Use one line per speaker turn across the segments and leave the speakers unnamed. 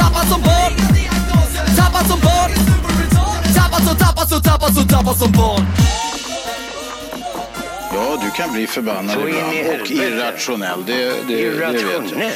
Tappad som barn Tappad som barn Tappad som, tappad som, tappad som, tappad som barn
Ja, du kan bli förbannad
Så in i
ibland och
helvete.
irrationell. Det, det, det vet jag.
Irrationell.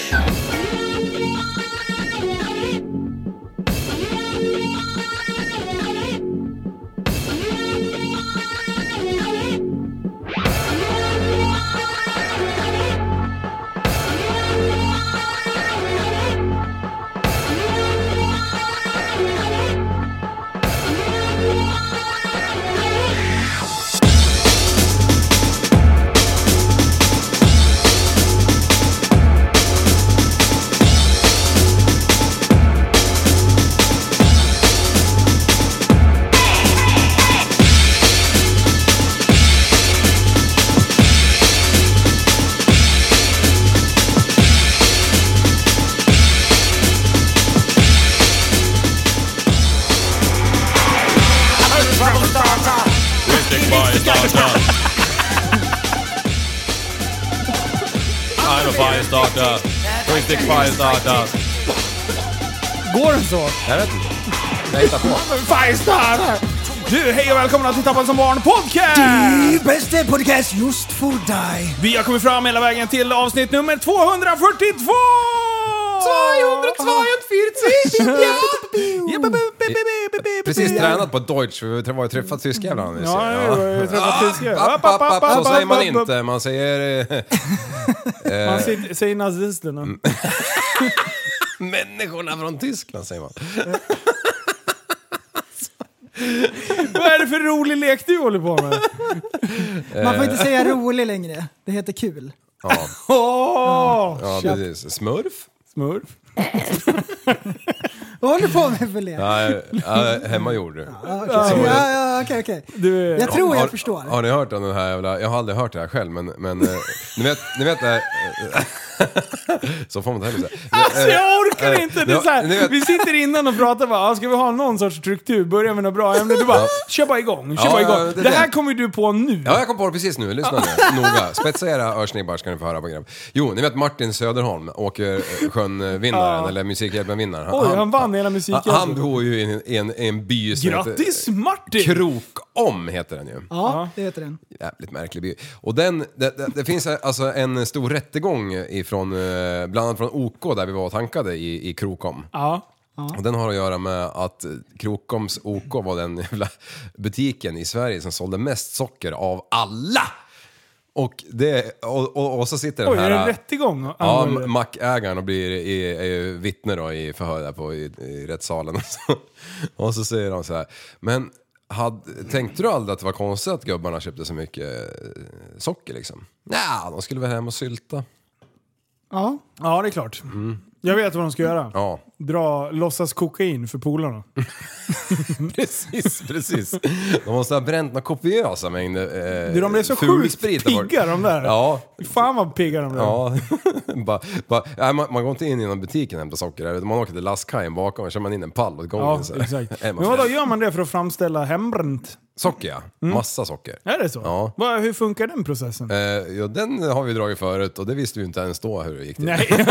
Riktigt bra i starten. I'm a firestarter. Riktigt firestarter.
Går den så?
Jag vet inte. Jag hittar på.
Firestar! Du, hej och välkomna till Tappad som barn podcast!
Bästa podcast just för dig.
Vi har kommit fram hela vägen till avsnitt nummer 242! 242!
Precis tränat på Deutsch, vi har träffat tyska ibland. vi
Ja,
säger.
jag har ju träffat tyskar.
App, app, app, så säger man inte, man säger eh,
Man sitter- säger nazisterna.
människorna från Tyskland säger man.
Vad är det för rolig lek du håller på med?
Man får inte
Eh.
säga rolig längre. Det heter kul.
Ja,
Åh!
ja precis. Smurf?
Smurf.
Vad håller du på med för lek? Ja,
Nej, äh, hemmagjord.
okej, ja, ja, okej. okej.
Du,
Jag tror
Har-
jag förstår.
Har ni hört om den här jävla, jag har aldrig hört det här själv men, men eh, ni vet, ni vet det här, Så får man inte heller säga. eh,
Alltså jag orkar inte! Det är
Ja,
så
ni
här,
vet-
vi sitter innan och pratar bara, "Ah, ska vi ha någon sorts struktur? Börja med något bra ämne. Du bara, kör bara igång, kör
Ja,
bara
ja,
igång.
det-
Det här kommer ju du på nu.
Ja, jag kom på det precis nu. Lyssna nu. Noga. Spetsa era örsnibbar ska ni få höra på grabb. Jo, ni vet Martin Söderholm, Åker eh, Sjön-vinnaren, eller Musikhjälpen-vinnaren.
Oj, han vann hela Musikhjälpen.
Han, han bor ju i en, i en, i en by som
Grattis
heter...
Martin!
Krokom heter den ju.
Ja, det heter den.
Jävligt märklig by. Och den, det, det, det finns alltså en stor rättegång ifrån, eh, bland annat från OK där vi var och tankade i, i Krokom.
Ja.
Och den har att göra med att Krokoms OK var den jävla butiken i Sverige som sålde mest socker av alla! Och, det, och, och, och så sitter den
Oj,
här...
är det en rättegång?
Ja,
angående-
mackägaren och blir i, i, vittne då i förhör där på i, i rättssalen. Och så, och så säger de så här, men hade, tänkte du aldrig att det var konstigt att gubbarna köpte så mycket eh, socker liksom? Nja, de skulle väl hem och sylta.
Ja.
ja, det är klart. Jag vet vad de ska göra.
Mm. Ja, Eh,
Dra, låtsas kokain för polarna.
precis, precis. De måste ha bränt några kopiösa mängder eh,
Du, de blev så sjukt
fulsprit där bort.
pigga de där.
Ja,
Fan vad pigga de blev.
Ja, bara, bara, nej, man, man går inte in genom butiken och hämtar socker, här, utan man åker till lastkajen bakom och kör man in en pall åt gången.
Ja,
så här.
exakt.
Är
Men
man
vadå,
fräsch.
gör man det för att framställa hembränt?
Socker ja,
Mm.
massa socker.
Är det så?
Ja.
Vad- hur funkar den processen?
Eh, ja, den har vi dragit förut och det visste vi inte ens då hur det gick till.
Nej.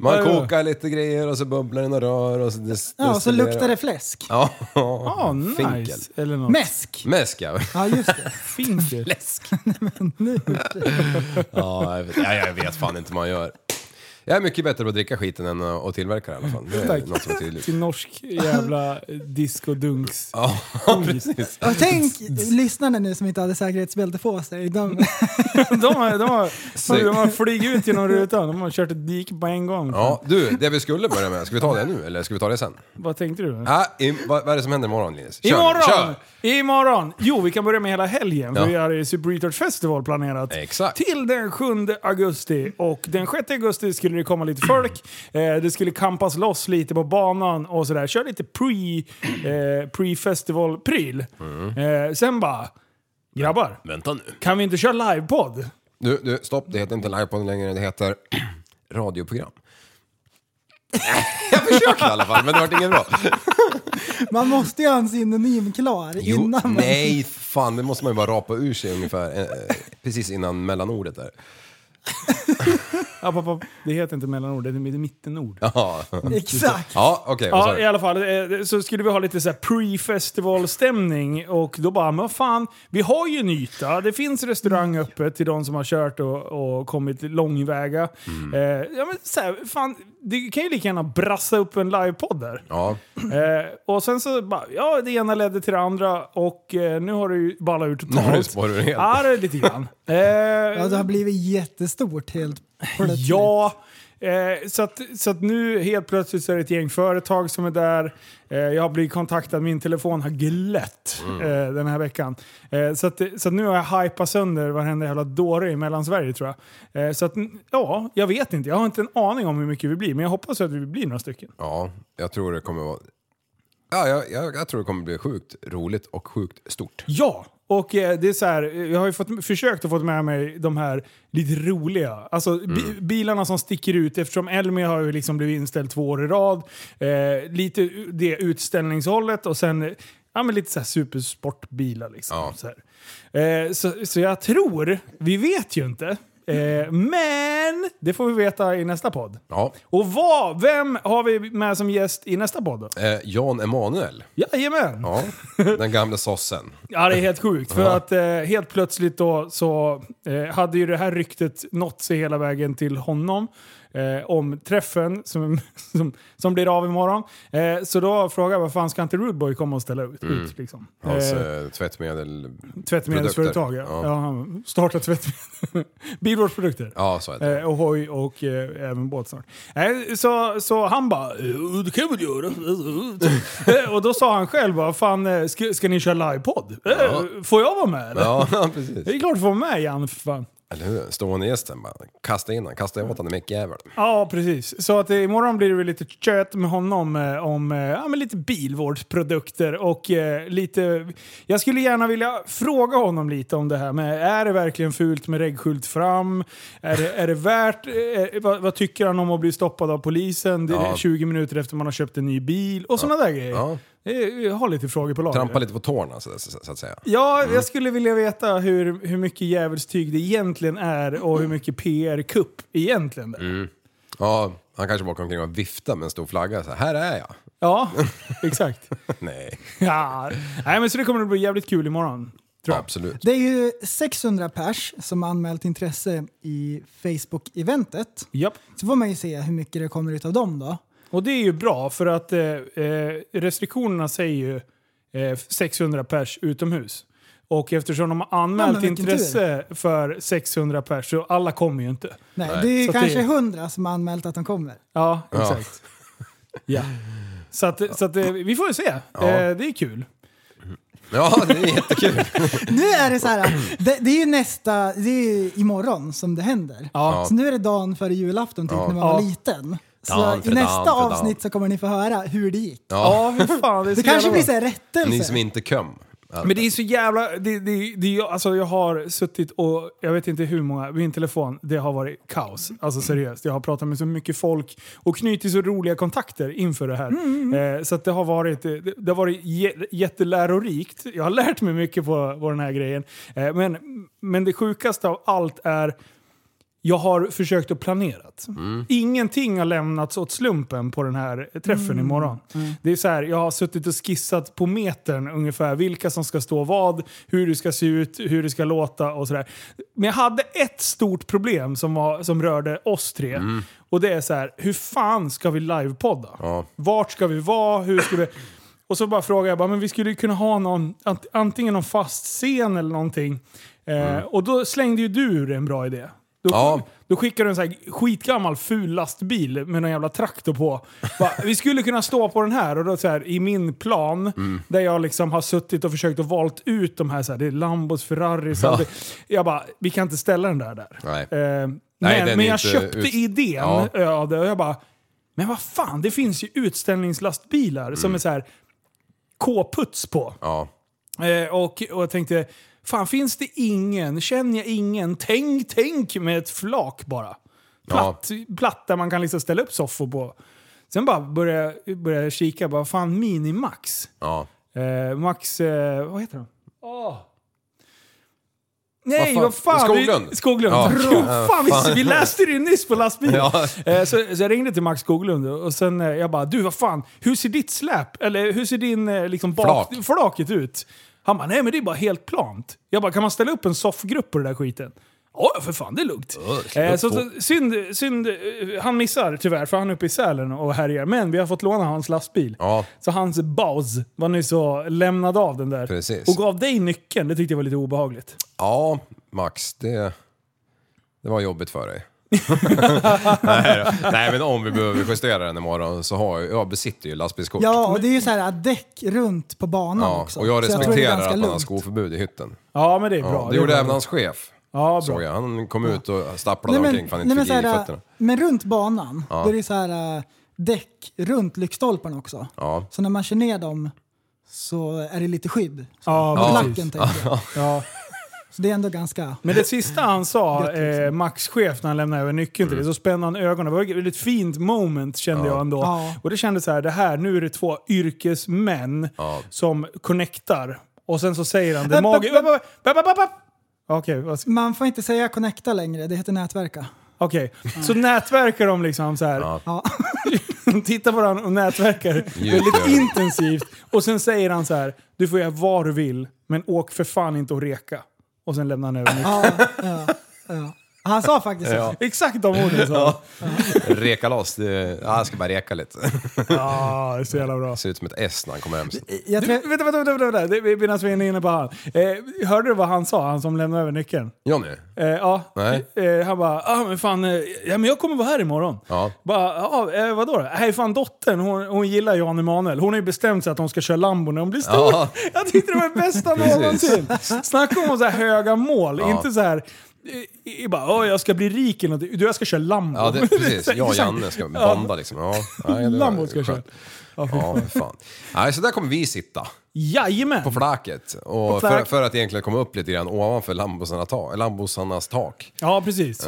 Man kokar lite grejer och så bubblar det några rör och så des-
Mm. Ja, och så
destillerar-
luktar det Ah, fläsk.
Ja,
Ja, Ah, nice.
Finkel.
Eller något.
Mäsk!
Mäsk ja.
Ja, just det.
Finkel.
ja. jag vet- ja, jag vet fan inte vad man gör. Jag är mycket bättre på att dricka skiten än att att tillverka det i alla fall. Det är
Tack.
något som är tydligt.
Till norsk jävla disco-dunks.
Ja, precis.
Och tänk lyssnarna nu som inte hade säkerhetsbälte på sig. De,
De har, de har,
Snyggt.
de har flugit ut genom rutan. De har kört ett dike på en gång.
Ja, du, det vi skulle börja med, ska vi ta det nu eller ska vi ta det sen?
Vad tänkte du?
Ja, i, vad, vad är det som händer imorgon Linus? Kör,
Imorgon!
Kör!
Imorgon! Jo, vi kan börja med hela helgen. För
Ja.
vi har ju Super Retard Festival planerat.
Exakt.
Till den 7 augusti. Och den 6 augusti ska skulle det komma lite folk, eh, det skulle kampas loss lite på banan och sådär. Kör lite pre, eh, pre-festival-pryl.
Mm.
Eh, sen bara, grabbar,
Vänta nu.
kan vi inte köra livepodd?
Du, du, stopp. Det heter inte livepodden längre, det heter radioprogram. Jag försökte i alla fall, men det vart inget bra.
Man måste ju ha en synonym klar
Jo,
innan man...
nej, fan, det måste man ju bara rapa ur sig ungefär. eh, eh, Precis innan mellanordet där.
App, app, app. Det heter inte mellanord, det är mitt- mittenord.
Ja,
Exakt.
ja okej. vad sa
Ja, i
du?
alla fall. eh, Så skulle vi ha lite så här pre-festivalstämning och då bara, men vad fan, vi har ju en yta. Det finns restaurang
Mm.
öppet till de som har kört och, och kommit långväga.
Mm.
Eh, ja, men så här, fan, du kan ju lika gärna brassa upp en livepodd där.
Ja,
Eh, och sen så bara, ja det ena ledde till det andra och eh, nu har det ju ballat ur
nu har du
totalt.
spårat ur helt.
Ja, det är lite grann. Eh,
Ja, det har blivit jättestort helt plötsligt.
Ja, eh, så, att, så att nu helt plötsligt så är det ett gäng företag som är där. Eh, jag har blivit kontaktad, min telefon har glätt eh, den här veckan. Eh, så att, så att nu har jag hypat sönder varenda jävla dåre i Mellansverige tror jag. Eh, så att, ja, jag vet inte. Jag har inte en aning om hur mycket vi blir, men jag hoppas att vi blir några stycken.
Ja, jag tror det kommer vara... Ja, jag, jag, jag tror det kommer bli sjukt roligt och sjukt stort.
Ja! Och eh, det är så här, eh, jag har ju fått, försökt att få med mig de här lite roliga, alltså bi,
Mm.
bilarna som sticker ut eftersom Elmia har ju liksom blivit inställd två år i rad. Eh, lite u- det utställningshållet och sen eh, ja, men lite så här supersportbilar liksom.
Ja.
Så, här. Eh, så, så jag tror, vi vet ju inte, eh, men det får vi veta i nästa podd.
Ja.
Och vad, vem har vi med som gäst i nästa podd då?
Eh, Jan Emanuel,
Jajamän!
ja, den gamle sossen.
Ja, det är helt sjukt. För
Ja.
att eh, helt plötsligt då så eh, hade ju det här ryktet nått sig hela vägen till honom. Eh, om träffen som, som, som blir av imorgon. Eh, så då frågade jag vad fan ska inte Rudeboy komma och ställa
Mm.
ut? ut liksom?
Hans
eh,
eh, tvättmedel...
tvättmedelsföretag, ja.
produkter.
ja.
Ja.
han startar tvättmedel. Bilvårdsprodukter.
Ja, så är det.
Eh, och hoj och eh, även båtsnart. Eh, så, så han bara, "Eh, det kan jag väl göra. Eh, och då sa han själv, bara, fan, eh, ska, ska ni köra livepodd? Eh, Får jag vara med eller?
Ja,
Det
precis.
är klart du får vara med Jan för fan.
Eller hur? Stående gästen bara, kasta in han, kasta åt han i mickjäveln.
Ja, precis. Så att eh, imorgon blir det väl lite tjöt med honom eh, om eh, ja, men lite bilvårdsprodukter och eh, lite... Jag skulle gärna vilja fråga honom lite om det här med är det verkligen fult med reggskylt fram? Är det, är det värt... Eh, vad, vad tycker han om att bli stoppad av polisen det är
Ja.
20 minuter efter man har köpt en ny bil? Och sådana där grejer.
Ja.
Eh, Jag har lite frågor på lager.
Trampa lite Mm. på tårna så, så, så att säga.
Ja, jag skulle vilja veta hur, hur mycket djävulstyg det egentligen är och hur mycket PR-kupp egentligen det
Mm.
är.
Ja, han kanske bara kom omkring och viftade med en stor flagga så här, här är jag.
Ja, exakt.
Nej,
Ja. Nej, men så det kommer att bli jävligt kul imorgon. Tror jag.
absolut.
Det är ju 600 pers som har anmält intresse i Facebook-eventet.
Japp.
Så får man ju se hur mycket det kommer ut av dem då.
Och det är ju bra för att eh, eh, restriktionerna säger ju eh, 600 pers utomhus. Och eftersom de har
Ja,
anmält
men vilken
intresse för 600 pers så alla kommer ju inte.
Nej, Det är ju
Så att
kanske
det-
100 som har anmält att de kommer.
Ja,
Ja.
exakt. Ja. Så, att, så att, eh, vi får ju se. Eh, det är kul.
Ja, det är jättekul.
Nu är det så här, det, det är ju nästa, det är ju imorgon som det händer.
Ja.
Så nu är det dagen före julafton typ när man
Ja.
var liten. Så
Dan för
i nästa
dan för dan.
avsnitt så kommer ni få höra hur det gick.
Ja, fy fan. Det, är så
Det kanske
jävla
blir
bra.
så här
Ni som
rättelse.
inte kom. Ja.
Men det är så jävla... Det, det, det, jag- alltså jag har suttit och... Jag vet inte hur många... Min telefon, det har varit kaos. Alltså seriöst. Jag har pratat med så mycket folk och knutit så roliga kontakter inför det här. Eh, så att det har varit, eh, det, det har varit jä- jättelärorikt. Jag har lärt mig mycket på, på den här grejen. Eh, men, men det sjukaste av allt är... Jag har försökt att planera. Ingenting har lämnats åt slumpen på den här träffen
Mm.
imorgon. Det är så här, jag har suttit och skissat på metern ungefär vilka som ska stå vad, hur det ska se ut, hur det ska låta och sådär. Men jag hade ett stort problem som, var, som rörde oss tre.
Mm.
Och det är så här, hur fan ska vi livepodda?
Ja.
Vart ska vi vara? Hur ska vi... Och så bara frågade jag, bara, men vi skulle ju kunna ha någon, ant- antingen någon fast scen eller någonting. Eh, Och då slängde ju du ur en bra idé. Då,
Mm. Ja.
då skickar du en så här skitgammal ful lastbil med någon jävla traktor på. Va, vi skulle kunna stå på den här och då så här, i min plan
Mm.
där jag liksom har suttit och försökt och valt ut de här, så här det är Lambos, Ferraris.
Ja.
Ja. Jag bara, vi kan inte ställa den där där.
Nej.
Eh,
Nej,
men,
den
men
är
jag
inte
köpte
ut-
idén
Ja.
av det och jag bara, men vad fan, det finns ju utställningslastbilar
Mm.
som är så här K-puts på.
Ja.
Eh, och, och jag tänkte, fan finns det ingen, känner jag ingen, tänk, tänk med ett flak bara. Platt, platt där man kan liksom ställa upp soffor på. Sen bara började jag- började jag kika, bara fan Minimax.
Ja.
Eh, Max, eh, vad heter de? Åh. Nej,
Vad
vad
fan?
fan! Vi,
Skoglund.
Skoglund.
Ja.
Bra.
Ja,
fan, vi, vi läste det ju nyss på lastbilen.
Ja.
Eh, så, så jag ringde till Max Skoglund och sen eh, jag bara, du vad fan, hur ser ditt släp, eller hur ser din eh, liksom bak,
Flak.
flaket ut? Han bara, nej men det är bara helt plant. Jag bara, kan man ställa upp en soffgrupp på den där skiten? Ja, för fan det är lugnt. Eh, så, så, synd, synd, eh, han missar tyvärr för han är uppe i Sälen och härjar. Men vi har fått låna hans lastbil.
Ja.
Så hans boss var nyss så lämnade av den där.
Precis.
Och gav dig nyckeln. Det tyckte jag var lite obehagligt.
Ja, Max, det, det var jobbigt för dig. Nej, då. Nej, men om vi behöver justera den imorgon så har jag, jag besitter ju lastbilskort.
Ja, och det är ju så här att däck runt på banan
Ja,
också.
och jag
Så tror det är
respekterar
ganska
att man har
lugnt.
skoförbud i hytten.
Ja, men det är bra.
Ja,
är
det gjorde
bra.
även hans chef.
Ja, bra.
Såg jag. Han kom ut och stapplade omkring för han inte
nej, men,
fick
så
i
här, äh,
fötterna.
men runt banan,
Ja.
då är det så här äh, däck runt lyktstolparna också.
Ja.
Så när man kör ner dem så är det lite skydd.
Ja,
Ja.
precis.
Lacken tänker jag.
Ja.
Så det är ändå ganska...
Men det sista han sa, eh, Max chef, när han lämnade över nyckeln till dig,
Mm.
så spände han ögonen. Det var ett väldigt fint moment kände jag ändå.
Ja.
Och det kändes så här, det här, nu är det två yrkesmän som connectar. Och sen så säger han det
Äh,
magiskt.
ba- ba-
Okej, vad ska-
Man får inte säga connecta längre, det heter nätverka.
okej. Så nätverkar de liksom så här.
Ja.
De tittar på varandra och nätverkar väldigt intensivt. Och sen säger han så här, du får göra vad du vill, men åk för fan inte och reka. Och sen lämnar han över nyckeln.
Ja, ja, ja. Han sa faktiskt så. Ja.
Exakt de orden sa han. äh,
Reka loss. Det, ja, jag ska bara reka lite.
Ja, det är så jävla bra.
Det ser ut som ett S när han kommer hem. sen.
Jag
Du,
tror,
vänta, vänta, vänta, vänta. Det, vi- medan vi är inne på han. Eh, hörde du vad han sa, han som lämnade över nyckeln?
Johnny?
Eh, ja.
Nej.
Eh, han bara, ah, men fan, eh, ja, men jag kommer vara här imorgon.
Ja.
Bara, ja, eh, vadå då? Nej, fan dottern, hon, hon gillar Jan Emanuel. Hon har ju bestämt sig att hon ska köra Lambo när hon blir stor.
Ja.
Jag tyckte det var det bästa
Precis.
någonsin. Snacka om så här höga mål,
Ja.
inte så här... eh, eh, Bara, "Åh, jag ska bli rik eller någonting. Du, jag ska köra Lambo.
Ja, det, precis. Jag och
Exakt.
Janne ska bonda liksom. Ja, ja, det var
Lambo ska jag
skönt.
köra.
Ja, för fan. Nej, så där kommer vi sitta.
Jajamän!
På flaket. Och
flak.
för, för att egentligen komma upp lite grann ovanför lambosarna ta, lambosarnas tak.
Ja, precis.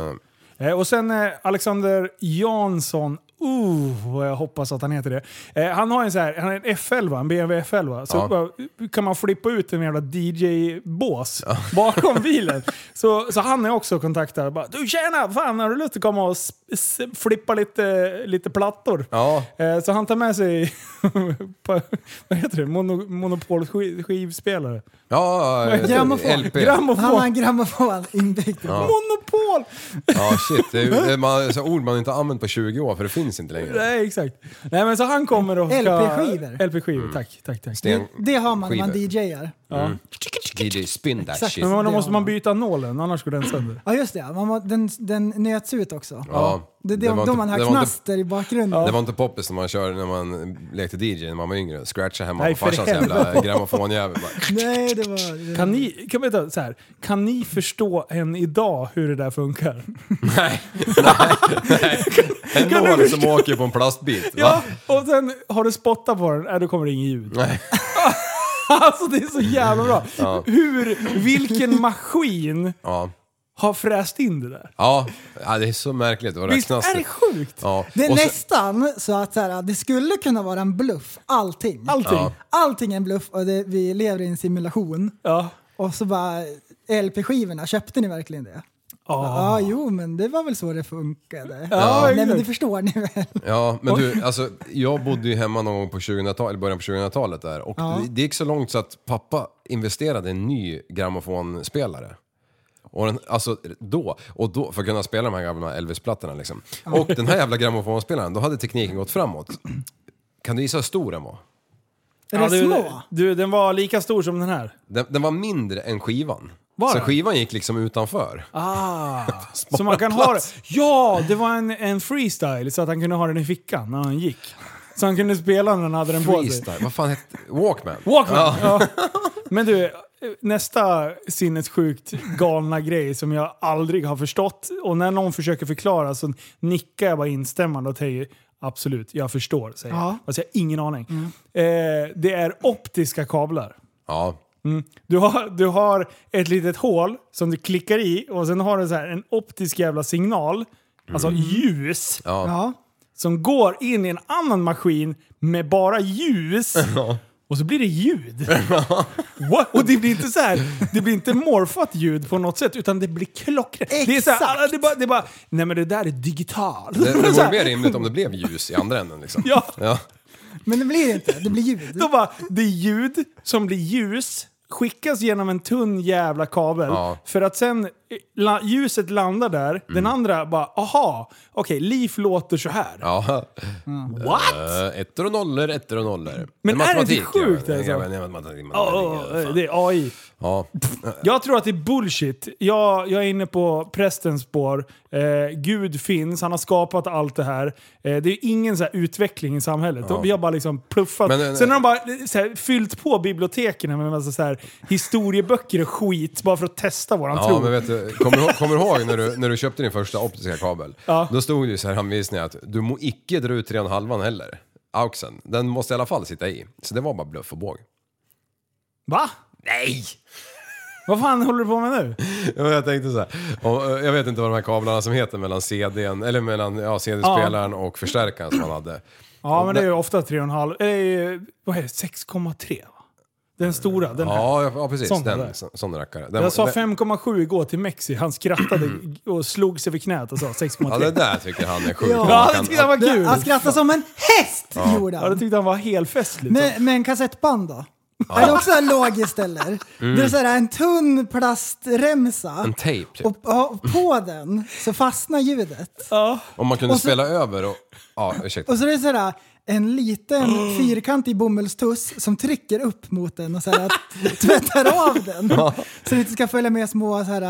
Eh, och sen eh, Alexander Jansson. Uh, vad jag hoppas att han heter det. Eh, han har en, så här, han har en F11, en BMW F11. Så
Ja.
bara, kan man flippa ut en jävla DJ-bås bakom bilen. Så, så han är också kontaktad. Bara, du tjena, fan har du lust att komma och s- s- flippa lite, lite plattor?
Ja,
Eh, så han tar med sig, på, vad heter det, Mono, monopolskivspelare.
ja eh,
Grammofon.
LP.
Grammofon.
han har en grammofon inbyggd.
Monopol!
Ja, shit. Det är, ju- det är man, så ord man inte har använt på 20 år för det finns inte längre.
Nej, exakt. Nej, men så han kommer och ska...
LP-skivor.
LP-skivor, tack. tack, tack.
Mm. Sten,
Det har man när man
Skivor.
DJar.
DJ, spin that
Exakt.
shit.
Men då
Det
måste man
har man.
byta nålen, annars går den sönder.
Ja just det, ja. man, må- den, den nöts ut också.
Ja,
Det är
det
det,
var
då
inte-
man
det
hör
var inte-
knaster i bakgrunden.
Det var inte poppis när man körde när man lekte DJ när man var yngre. Scratcha hemma
Nej,
på
för
farsans
helvete.
jävla grammofonjävel. bara.
Nej, det var...
Kan ni, kan, vänta, så här, kan ni förstå än idag hur det där funkar?
Nej, nej, nej. En nål som åker på en plastbit.
Ja,
Va?
och sen har du spottat på den, äh, då kommer det inget ljud.
Nej.
Alltså det är så jävla bra! Hur, vilken maskin
Ja.
har fräst in det där?
Ja. ja, det är så märkligt. Vad
Visst
knastrar.
är det sjukt?
Ja.
Det är
Och så-
nästan så att så här, det skulle kunna vara en bluff, allting.
Allting. Ja.
Allting är en bluff och det, vi lever i en simulation.
Ja.
Och så bara, LP-skivorna, köpte ni verkligen det? Ja, jo men det var väl så det funkade. Nej men
exakt.
det förstår ni väl?
Ja, men du, alltså, jag bodde ju hemma någon gång på 2000-talet, eller början på 2000-talet där. Och det, det gick så långt så att pappa investerade i en ny grammofonspelare. Och den, alltså då, och då, för att kunna spela de här gamla Elvis-plattorna liksom. Och den här jävla grammofonspelaren, då hade tekniken gått framåt. Kan du gissa hur stor den var?
Är det
du,
små?
du, den var lika stor som den här.
Den, den var mindre än skivan.
Var
Så
det?
skivan gick liksom utanför.
Ah, så man kan ha det. Ja, det var en, en freestyle så att han kunde ha den i fickan när han gick. Så han kunde spela när han hade den på sig.
Freestyle, vad fan hette Walkman?
Walkman! Ja. Men du, nästa sinnessjukt galna grej som jag aldrig har förstått. Och när någon försöker förklara så nickar jag bara instämmande och säger absolut, jag förstår. Säger jag.
Ja.
Alltså jag har ingen aning. Eh, det är optiska kablar.
Ja.
Du har, du har ett litet hål som du klickar i och sen har du så här en optisk jävla signal, alltså
Mm.
ljus,
Ja.
som går in i en annan maskin med bara ljus. Och så blir det ljud. What? Och det blir inte så här, det blir inte morfat ljud på något sätt, utan det blir klockrent. Det är så här, alla- det är bara, det är bara, nej men det där är digitalt.
Det, det
Så
vore
här,
mer rimligt om det blev ljus i andra änden liksom.
Ja.
ja.
Men det blir det inte, det blir ljud.
Då bara, det är ljud som blir ljus, skickas genom en tunn jävla kabel.
Ja. Mm.
För att sen eh, la, ljuset landar där, den andra bara aha, okej, liv låter så här.
Ja.
What?
Eh, Ettor och nollor, ettor och nollor.
Men
Det
är det inte
matematik, ja.
sjukt,
Ja,
alltså?
ja, men det är matematik,
Ja,
matematik, ja, fan.
det är AI.
Ja.
Jag tror att det är bullshit. Jag, jag är inne på prästens spår. Eh, Gud finns, han har skapat allt det här. Eh, det är ingen så här utveckling i samhället. De- Vi har bara liksom pluffat.
Men, eh,
Sen har de bara eh, så här, fyllt på biblioteken med en massa så här, historieböcker och skit bara för att testa våran tro.
Ja, men vet du, kommer du ihåg- kommer du ihåg när du, när du köpte din första optiska kabel?
Ja.
Då stod det ju så här anvisningar att du må icke dra ut 3,5 heller. Auxen. Den måste i alla fall sitta i. Så det var bara bluff och båg.
Va?
Nej!
Vad fan håller du på med nu?
Ja, men jag tänkte så här. Och, eh, jag vet inte vad de här kablarna som heter mellan CDn, eller mellan ja, CD-spelaren och förstärkaren som han hade.
Ja, men det är ju ofta 3,5. Eller eh, vad är det? 6,3 va? Den stora, den här.
Ja, ja, ja precis.
Sån där.
den, så- sån rackare. Den,
Jag sa
den-
5,7 igår till Mexi. Han skrattade och slog sig för knät och sa 6,3.
Ja, det där tycker han är sjukt.
Ja.
Man
Ja, det
kan-
tyckte han var kul!
Han skrattar som en häst, gjorde
Ja, det
han.
tyckte han var helt festligt.
Men, men kassettband då? Är det också logiskt eller?
Mm.
Det är så här, en tunn plastremsa.
En tejp, typ.
Och, ja, och på den så fastnar ljudet.
Om man kunde
Och så-
spela över och... Ja, ursäkta.
Och så är det så här, en liten fyrkantig bomullstuss som trycker upp mot den och så här, tvättar av den. Så det inte ska följa med små så här,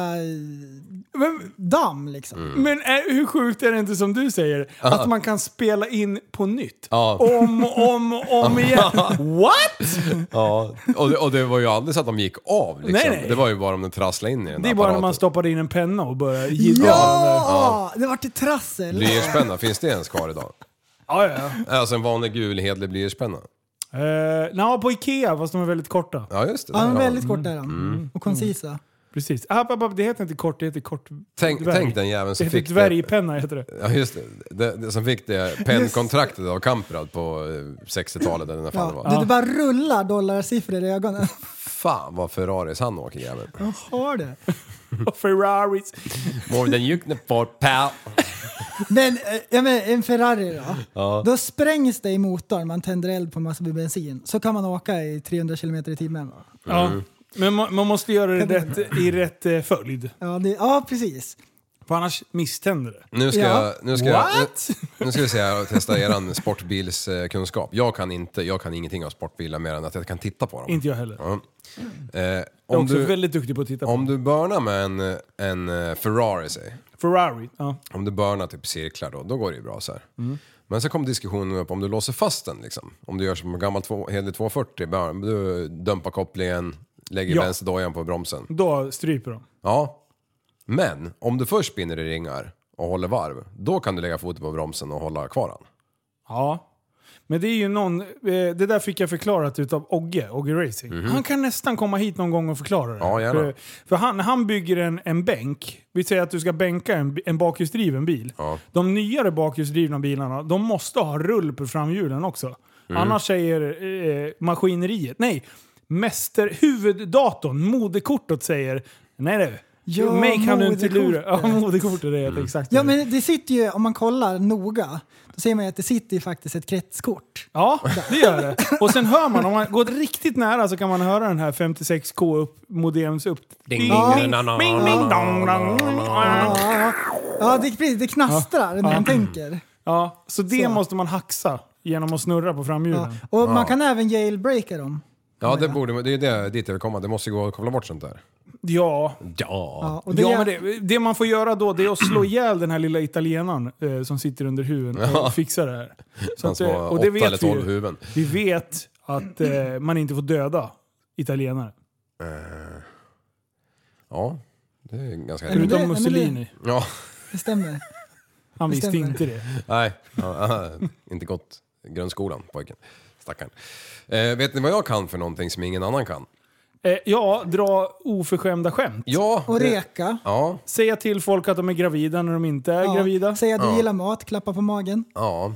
Men,
damm liksom.
men är, hur sjukt är det inte som du säger? Att man kan spela in på nytt.
Ja.
Om och om och om igen. What?
Ja. Och, det, och det var ju aldrig så att de gick av liksom.
Nej, nej.
Det var ju bara om den trasslade in i den
Det är
där
bara när
apparaten.
man stoppade in en penna och började gidra.
Ja! Det vart ett trassel.
Blyertspenna, finns det ens kvar idag?
Ja, ja.
Alltså en vanlig gul hedlig blyertspenna.
Uh, no, på Ikea, fast de är väldigt korta.
Ja, just det.
Ja, Mm.
Där
men
har
väldigt
man.
kort är de. Och koncisa.
Precis. Ah, ah, ah, det heter inte kort, det heter kort...
Tänk,
dvärg.
tänk den jäveln
Det
som
heter
fick det,
dvärgpenna, heter det.
ja, just det, det, det som fick det pennkontraktet av Kamprad på eh, 60-talet eller när fan det
Ja.
var.
Du, det bara rullar dollarsiffror i ögonen.
Fan vad Ferraris han åker jäveln.
Har det?
Och Ferraris.
More than you can afford pal.
Men, eh, ja, men en Ferrari då? Då sprängs det i motorn, man tänder eld på massor med bensin. Så kan man åka i 300 km i timmen. va?
Ja.
Mm.
Men man, man måste göra det rätt, i rätt eh, följd.
Ja, det, ja precis.
För annars misständer det.
Nu ska,
Ja.
jag, nu, ska jag, nu ska vi se här och testa eran sportbilskunskap. Jag kan inte, jag kan ingenting av sportbilar mer än att jag kan titta på dem.
Inte jag heller.
Ja. Eh,
Jag är
om,
också
du,
väldigt duktig på att titta på.
om du börnar med en, en eh, Ferrari, säg.
Ferrari. Ja.
Om du börnar typ cirklar då, då går det ju bra så här.
Mm.
Men så kom diskussionen upp om du låser fast den liksom. Om du gör som en gammal två- hederlig 240, bara, du dumpar kopplingen, lägger
Ja.
vänsterdojan på bromsen.
Då stryper de.
Ja. Men om du först spinner i ringar och håller varv, då kan du lägga foten på bromsen och hålla kvar den.
Ja. Men det är ju någon, eh, det där fick jag förklarat utav Ogge, Ogge Racing. Han kan nästan komma hit någon gång och förklara det.
Mhm. Ja, gärna.
för för han, han bygger en, en bänk, vi säger att du ska bänka en, en bakhjulsdriven bil.
Ja.
De nyare bakhjulsdrivna bilarna, de måste ha rull på framhjulen också.
Mm.
Annars säger eh, maskineriet, nej, mäster, huvuddatorn, moderkortet säger, nej du.
Ja,
mig kan du inte lura.
moderkortet.
Ja, moderkortet är
Mm.
helt exakt
Ja,
det.
men det sitter ju, om man kollar noga, då ser man ju att det sitter ju faktiskt ett kretskort.
Ja, det gör det. Och sen hör man, om man går riktigt nära så kan man höra den här 56k upp, modems upp... Ding, ding, ding, ding, dong, dong.
Ja, ja det, precis, det knastrar när man tänker.
Ja, så det
Så.
måste man haxa genom att snurra på
Ja.
framhjulen.
Och man kan även jailbreaka dem.
Ja, det, borde, det är det, dit jag vill komma. Det måste gå att koppla bort sånt där.
Ja,
Ja.
Ja, och det,
ja men det, det man får göra då det är att slå ihjäl den här lilla italienaren eh, som sitter under huven och fixar det här. Så
Han som
eh,
har åtta eller
vi ju.
tolv huvuden.
Vi vet att eh, man inte får döda italienare.
Ja, det är ganska
Eller-
kul.
Förutom
nej, men det-
Mussolini.
Ja,
det stämmer.
Han
det
visste
stämmer.
inte det.
nej. Ja, inte gått grundskolan, pojken. Stackarn. Eh, vet ni vad jag kan för någonting som ingen annan kan?
Eh, ja, dra oförskämda skämt.
Ja.
Och
det-
reka.
Ja,
Säga till folk att de är gravida när de inte är
Ja,
gravida.
Säga du gillar mat, klappa på magen.
ja.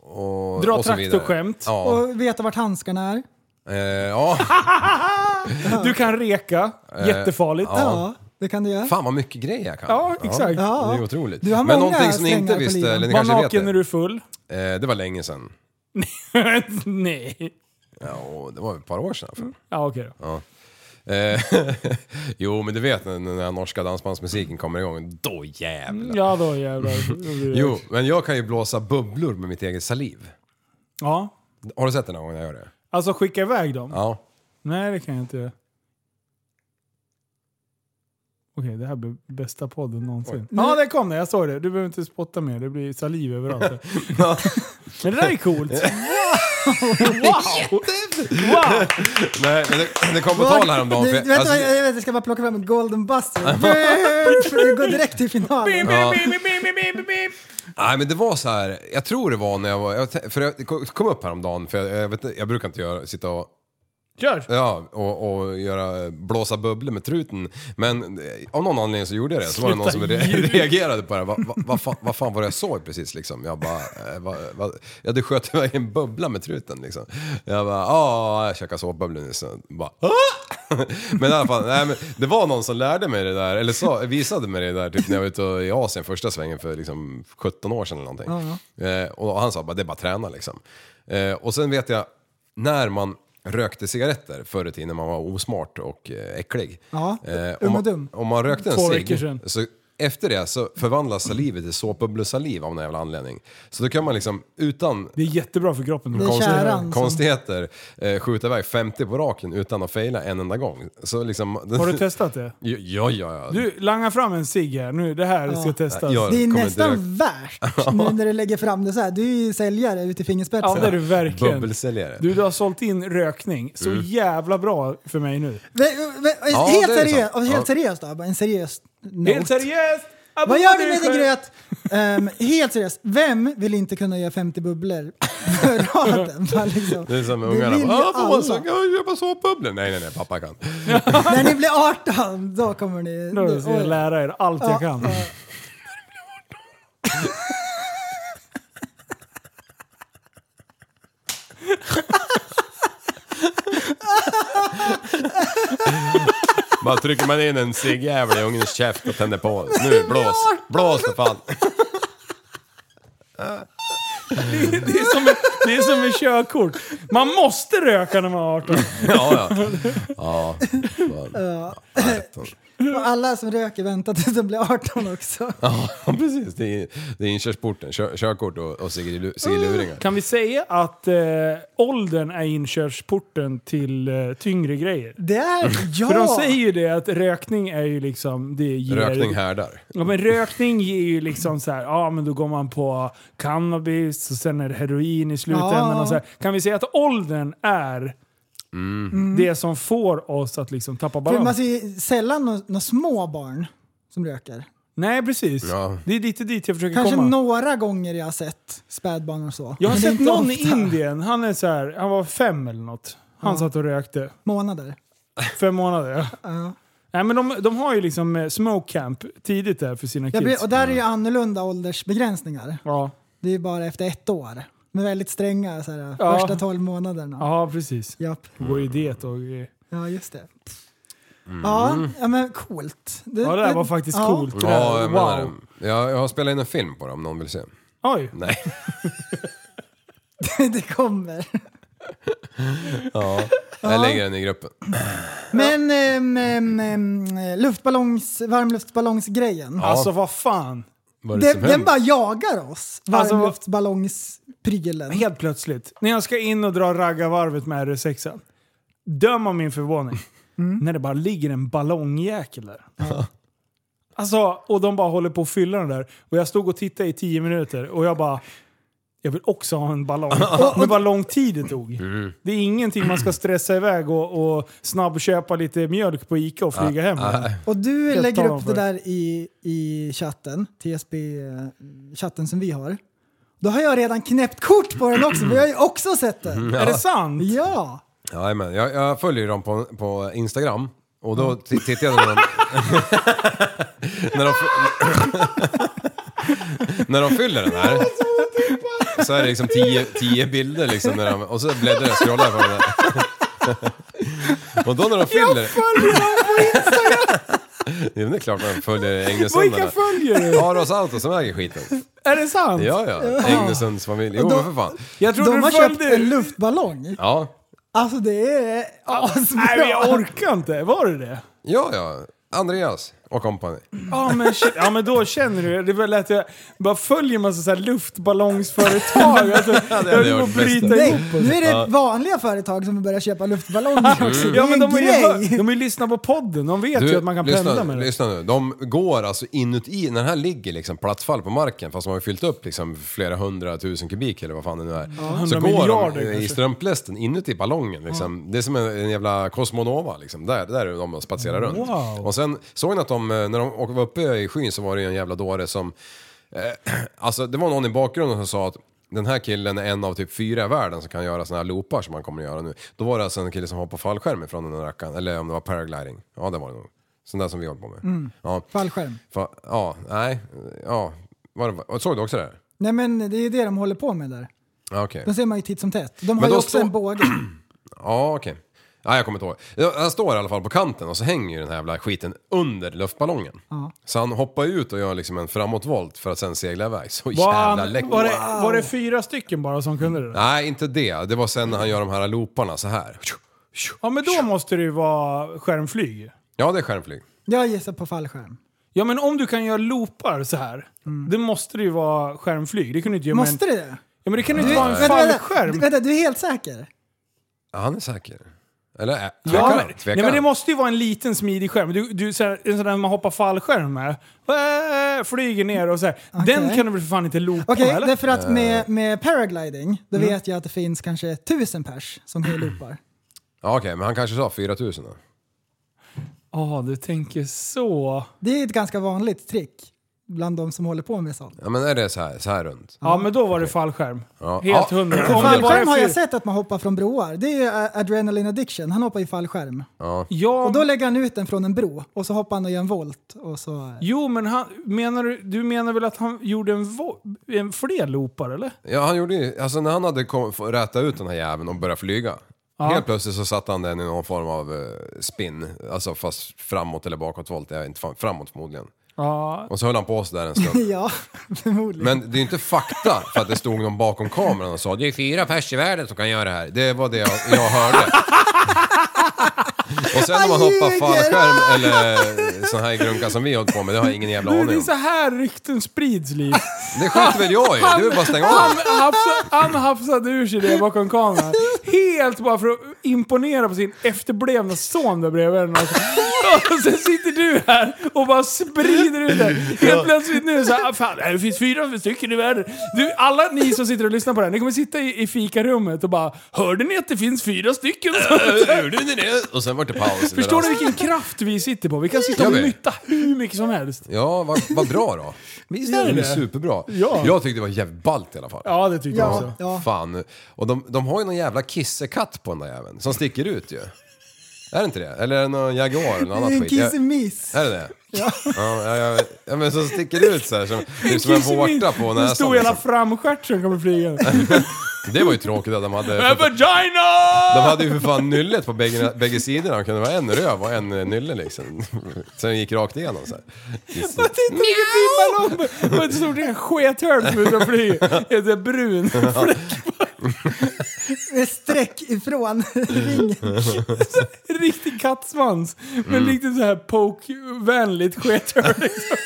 Och,
Dra
och så vidare.
traktorskämt.
Ja.
Och veta vart handskarna är.
Eh, ja.
Du kan reka.
Eh,
Jättefarligt.
Ja,
Ja.
det kan du göra.
Fan vad mycket grejer jag kan.
Ja, exakt.
Det är
Ja.
otroligt.
Du har
Men
många
någonting som ni
strängar
inte
på
visste,
liran.
eller ni
Var
kanske vet
naken
det.
när du är full.
Eh, det var länge sedan.
Nej.
Ja, och det var ett par år sedan. För.
Ja, okej då.
Eh, jo, men du vet när när den norska dansbandsmusiken kommer igång, då jävlar.
Ja, då jävlar. Då blir det-
Jo, men jag kan ju blåsa bubblor med mitt eget saliv.
Ja.
Har du sett det någon gång när jag gör det?
Alltså skicka iväg dem?
Ja.
Nej, det kan jag inte göra. Okej, det här blir bästa podden någonsin. Ja, där kom det. Jag såg det. Du behöver inte spotta mer. Det blir saliv överallt. Men det där är coolt. Wow! wow.
Nej, men det, det kom på tal häromdagen.
Du,
för-
vänta,
alltså,
jag, jag vet, jag ska bara plocka fram en golden buzzer. Brr, för att gå direkt till finalen.
Ja. Nej men det var så här. jag tror det var när jag var, jag, te- för jag det kom upp häromdagen, för jag, jag, vet, inte- jag brukar inte göra, sitta och
Kör!
Ja, och, och göra, blåsa bubblor med truten. Men eh, av någon anledning så gjorde jag det. Så var det någon som
Sluta
re-
ljug.
reagerade på det. Vad va, va fan, vad fan var det jag såg precis liksom? Jag bara, eh, va, va, ja du sköt iväg en bubbla med truten liksom. Jag bara, ja, jag käkade såpbubblor nyss. Så Bara, "Ah!" men i alla fall, nej, men det var någon som lärde mig det där, eller sa, visade mig det där typ när jag var ute i Asien första svängen för liksom 17 år sedan eller någonting. Eh, och han sa bara, det är bara att träna liksom. Eh, och sen vet jag, när man rökte cigaretter förr i tiden när man var osmart och eh, äcklig.
Ja,
om,
ung och
man,
dum.
om man rökte en
Två
cigg,
veckor sedan.
så efter det så förvandlas salivet till såpbubblesaliv av någon jävla anledning. Så då kan man liksom utan
Det är jättebra för kroppen.
Det är käran som-
konstigheter eh, skjuta iväg 50 på raken utan att fejla en enda gång. Så liksom,
Har du testat det?
Ja, ja, ja.
Du, langa fram en cigg här nu. Det här ska testas.
Ja,
Det är
kommer
nästan
direkt.
värt nu när du lägger fram det så här. Du är ju säljare ut i fingerspetsen.
Ja, det är du verkligen.
Bubbelsäljare.
Du, du har sålt in rökning så
Mm.
jävla bra för mig nu.
Vä- vä-
Ja,
helt
det är det
seriöst,
sant.
helt
Ja.
seriöst då, bara en seriös note.
Helt seriöst!
Vad gör du med din
Applåder!
gröt? Ehm, helt seriöst, vem vill inte kunna göra 50 bubblor för raden? Bara liksom.
Det är som med
Det
ungarna.
vill ju
Bara, "Ah, får man
alla."
så, ja, köpa såpbubblor? Nej, nej, nej, pappa kan.
När ni blir 18, då kommer ni...
Då ska jag
oj.
lära er allt jag kan.
Bara trycker man in en ciggjävel i ungens käft och tänder på. Nu, blås. Blås för fan.
Det är, som med, det är som med körkort. Man måste röka när man är 18.
Ja, ja. Ja, fan. Ja, rätt.
Och alla som röker väntar tills de blir 18 också.
ja precis. Det är, det är inkörsporten. Kör, körkort och, och cigglu- ciggluringar.
Kan vi säga att eh, åldern är inkörsporten till eh, tyngre grejer?
Det är... Ja!
För de säger ju det att rökning är ju liksom... Det ger,
Rökning härdar.
Ja men rökning ger ju liksom så här, ja men då går man på cannabis och sen är det heroin i slutändan
Ja.
och så här. Kan vi säga att åldern är
Mm.
det som får oss att liksom tappa
För man
balans?
ser ju sällan några nå små barn som röker.
Nej precis.
Ja.
Det är lite dit jag försöker
Kanske
komma.
några gånger jag har sett spädbarn och så.
Jag har
Men det är
sett
inte
någon i
ofta.
Indien, han är så här, han var fem eller något. Han satt och rökte.
Månader.
Fem månader.
Ja.
Nej men de, de har ju liksom eh, smoke camp tidigt där för sina
Jag
kids.
blir, och där är ju annorlunda åldersbegränsningar.
Ja,
Det är ju bara efter ett år. Men väldigt stränga så här,
Ja.
första tolv månaderna. Ja.
ja precis.
Japp.
Går i diet och grejer.
ja, just det.
Mm.
Ja, ja, men coolt.
Ja det där var faktiskt
Mm. ja.
coolt. Det där.
Ja, jag menar
wow.
det. Jag, jag har spelat in en film på det om någon vill se.
Oj.
Nej.
det kommer.
Ja. Jag lägger den i gruppen.
Men ehm, ehm, ehm, luftballongs, varmluftsballongsgrejen.
Alltså vad fan.
Vad är det
Den,
som
den
händer?
bara jagar oss.
Alltså, vad-
Varmluftsballongsprylen.
Helt plötsligt. När jag ska in och dra raggarvarvet med R6. Döm om min förvåning.
Mm.
när det bara ligger en ballongjäkel där. Alltså, och de bara håller på att fylla den där. Och jag stod och tittade i tio minuter och jag bara... Jag vill också ha en ballong. Men vad lång tid det tog.
Mm.
Det är ingenting man ska stressa iväg och, och snabbköpa lite mjölk på Ica och flyga hem med.
Och du
Jag
lägger
tar dem
upp
för
det
det.
där i, i chatten, TSB-chatten eh, som vi har. Då har jag redan knäppt kort på den också, för jag har ju också sett
Mm,
den.
Är det sant?
Ja!
Jajamän, jag, jag följer dem på, på Instagram och då t- tittar jag när de... när, de fy- när de fyller den här. Så är det liksom tio, tio bilder liksom när de, och så bläddrar jag och scrollar på den där. Och då när de fyller... Jag följer dem på Instagram! Jo, det är klart man följer
Vilka
Engelsöndarna.
följer du?
Aros Auto som äger skiten.
Är det sant?
Ja, ja. Engelsönds familj. Jo, men för fan.
Jag trodde
De
du
har köpt
följde...
en luftballong.
Ja,
Alltså det är
Nej, men jag
asbra.
orkar inte. Var det det?
ja, ja. Andreas och kompani.
Ja men, shit. ja men då känner du det. var lät jag bara följer massa så här luftballongsföretag. Alltså, jag
hade
höll på
varit
att
bäst.
bryta
Nej,
ihop.
nu är det vanliga företag som börjar köpa luftballonger också. Det
Ja,
är
men
en
de, har ju, hör-
grej.
de har ju lyssnat på podden, de vet ju att man kan pendla med det.
lyssna nu. De går alltså inuti, den här ligger liksom plattfall på marken fast de har ju fyllt upp liksom flera hundratusen kubik eller vad fan det nu är. så
hundra
går
miljarder
de i
kanske.
strumplästen inuti ballongen liksom. Det är som en, en jävla Cosmonova liksom. Där, där är de och spatserar runt.
Wow.
Och sen såg ni att de, eh, när de åk- var uppe i skyn så var det ju en jävla dåre som Alltså det var någon i bakgrunden som sa att den här killen är en av typ fyra i världen som kan göra såna här loopar som han kommer att göra nu. Då var det alltså en kille som hoppade fallskärm från den här rackaren, eller om det var paragliding. Ja det var det nog. Sån där som vi håller på med.
Mm.
Ja.
Fallskärm.
Fa- ja, nej, ja. Var det, såg du också det här?
Nej men det är ju det de håller på med där.
Ja, okej.
De ser man ju titt som tätt. De har
Men
ju
då
också
står-
en båge.
Ja, okej. Nej, jag kommer inte ihåg. Ja, Han står i alla fall på kanten och så hänger ju den här jävla skiten under luftballongen. Så han hoppar ju ut och gör liksom en framåtvolt för att sen segla iväg. Så
Var,
jävla
han,
läckert.
var, det, var det fyra stycken bara som kunde det?
Nej, inte det. Det var sen när han gör de här looparna så här.
Ja men då måste det ju vara skärmflyg.
Ja, det är skärmflyg.
Jag gissar på fallskärm.
Ja men om du kan göra loopar så här, det måste det ju vara skärmflyg. Det kunde inte göra med
Måste
en,
det det?
Ja men det kan ju inte vara en
Vänta,
fallskärm.
vänta, vänta, du är helt säker?
Ja, han är säker. Eller äh, tvekar
Ja,
han?
men,
Tvekar
nej, men det
han?
måste ju vara en liten smidig skärm. Du, du, så här, en sån där man hoppar fallskärm med. Äh, flyger ner och så här. Den
Okej.
kan du väl för fan inte loopa
Okej,
eller? Mm.
därför
Eh.
att med, med paragliding, då vet jag att det finns kanske tusen pers som kan loopar.
Ja, okej, men han kanske sa 4000 då.
Ja, du tänker så.
Det är ett ganska vanligt trick bland de som håller på med sånt.
Ja, men är det så här, så här runt?
Ja, men då var det fallskärm.
Ja.
Helt
Ja.
hundra. Om det bara är
Fallskärm har jag
fyr-
sett att man hoppar från broar. Det är ju ä, Adrenaline Addiction, han hoppar i fallskärm.
Ja,
Och då lägger han ut den från en bro och så hoppar han och gör en volt. Och så...
Jo, men han, menar du, du menar väl att han gjorde en, vo- en fler loopar, eller?
Ja, han gjorde ju, alltså när han hade kom, få- rätat ut den här jäveln och börjat flyga. Helt plötsligt så satte han den i någon form av eh, spin. Alltså fast framåt eller bakåtvolt, jag vet inte fan, framåt förmodligen.
Ja.
Och så höll han på sådär en stund.
Ja, förmodligen.
Men det är ju inte fakta för att det stod någon bakom kameran och sa det är fyra pers i världen som kan göra det här. Det var det jag, jag hörde. och sen om man
Han
hoppar
ljuger.
fallskärm eller sån här grunka som vi hållit på med, det har jag ingen jävla
Du,
aning
det är
om.
så här rykten sprids, Liv.
Det skiter väl jag i, det är väl bara att stänga av.
Han, hafsa, han hafsade ur sig det bakom kameran. Helt bara för att imponera på sin efterblivna son där bredvid. henne. Och sen sitter du här och bara sprider ut det. Helt plötsligt nu så här, "Ah, fan det finns fyra stycken i världen. Du, alla ni som sitter och lyssnar på det här, ni kommer sitta i, i fikarummet och bara Hörde ni att det finns fyra stycken?
Gjorde ni det? Och sen var det paus.
Förstår du vilken kraft vi sitter på? Vi kan sitta
Gör
och
vi?
mytta hur mycket som helst.
Ja, vad vad bra då.
Visst
Det är superbra.
Ja.
Jag tyckte det var jävligt ballt i alla fall.
Ja, det tyckte jag också.
Ja, ja.
Fan. Och de, de har ju någon jävla kissekatt på den där jäveln som sticker ut ju. Är det inte det? Eller är det någon jaguar eller något annat
En
skit? Jag-
kissemiss.
Är det det? Ja. Ja, ja, ja men som sticker ut så här, som, det är som en
Kissemin.
vårta på
Den
näsan.
stora jävla
Liksom.
framstjärten kommer flyga.
Det var ju tråkigt att de hade...
Men vagina!
De hade ju för fan nyllet på bägge, bägge sidorna. Det kunde vara en röv och en eh, nylle liksom. Sen gick rakt igenom så här. Kissen.
Titta vilken fin ballong! Och ett stort jävla skethörn som är ute och flyger. Helt så här brun.
Med streck ifrån ringen.
Riktig kattsvans.
Mm.
Men riktigt så här poke-vänligt skethörn. liksom.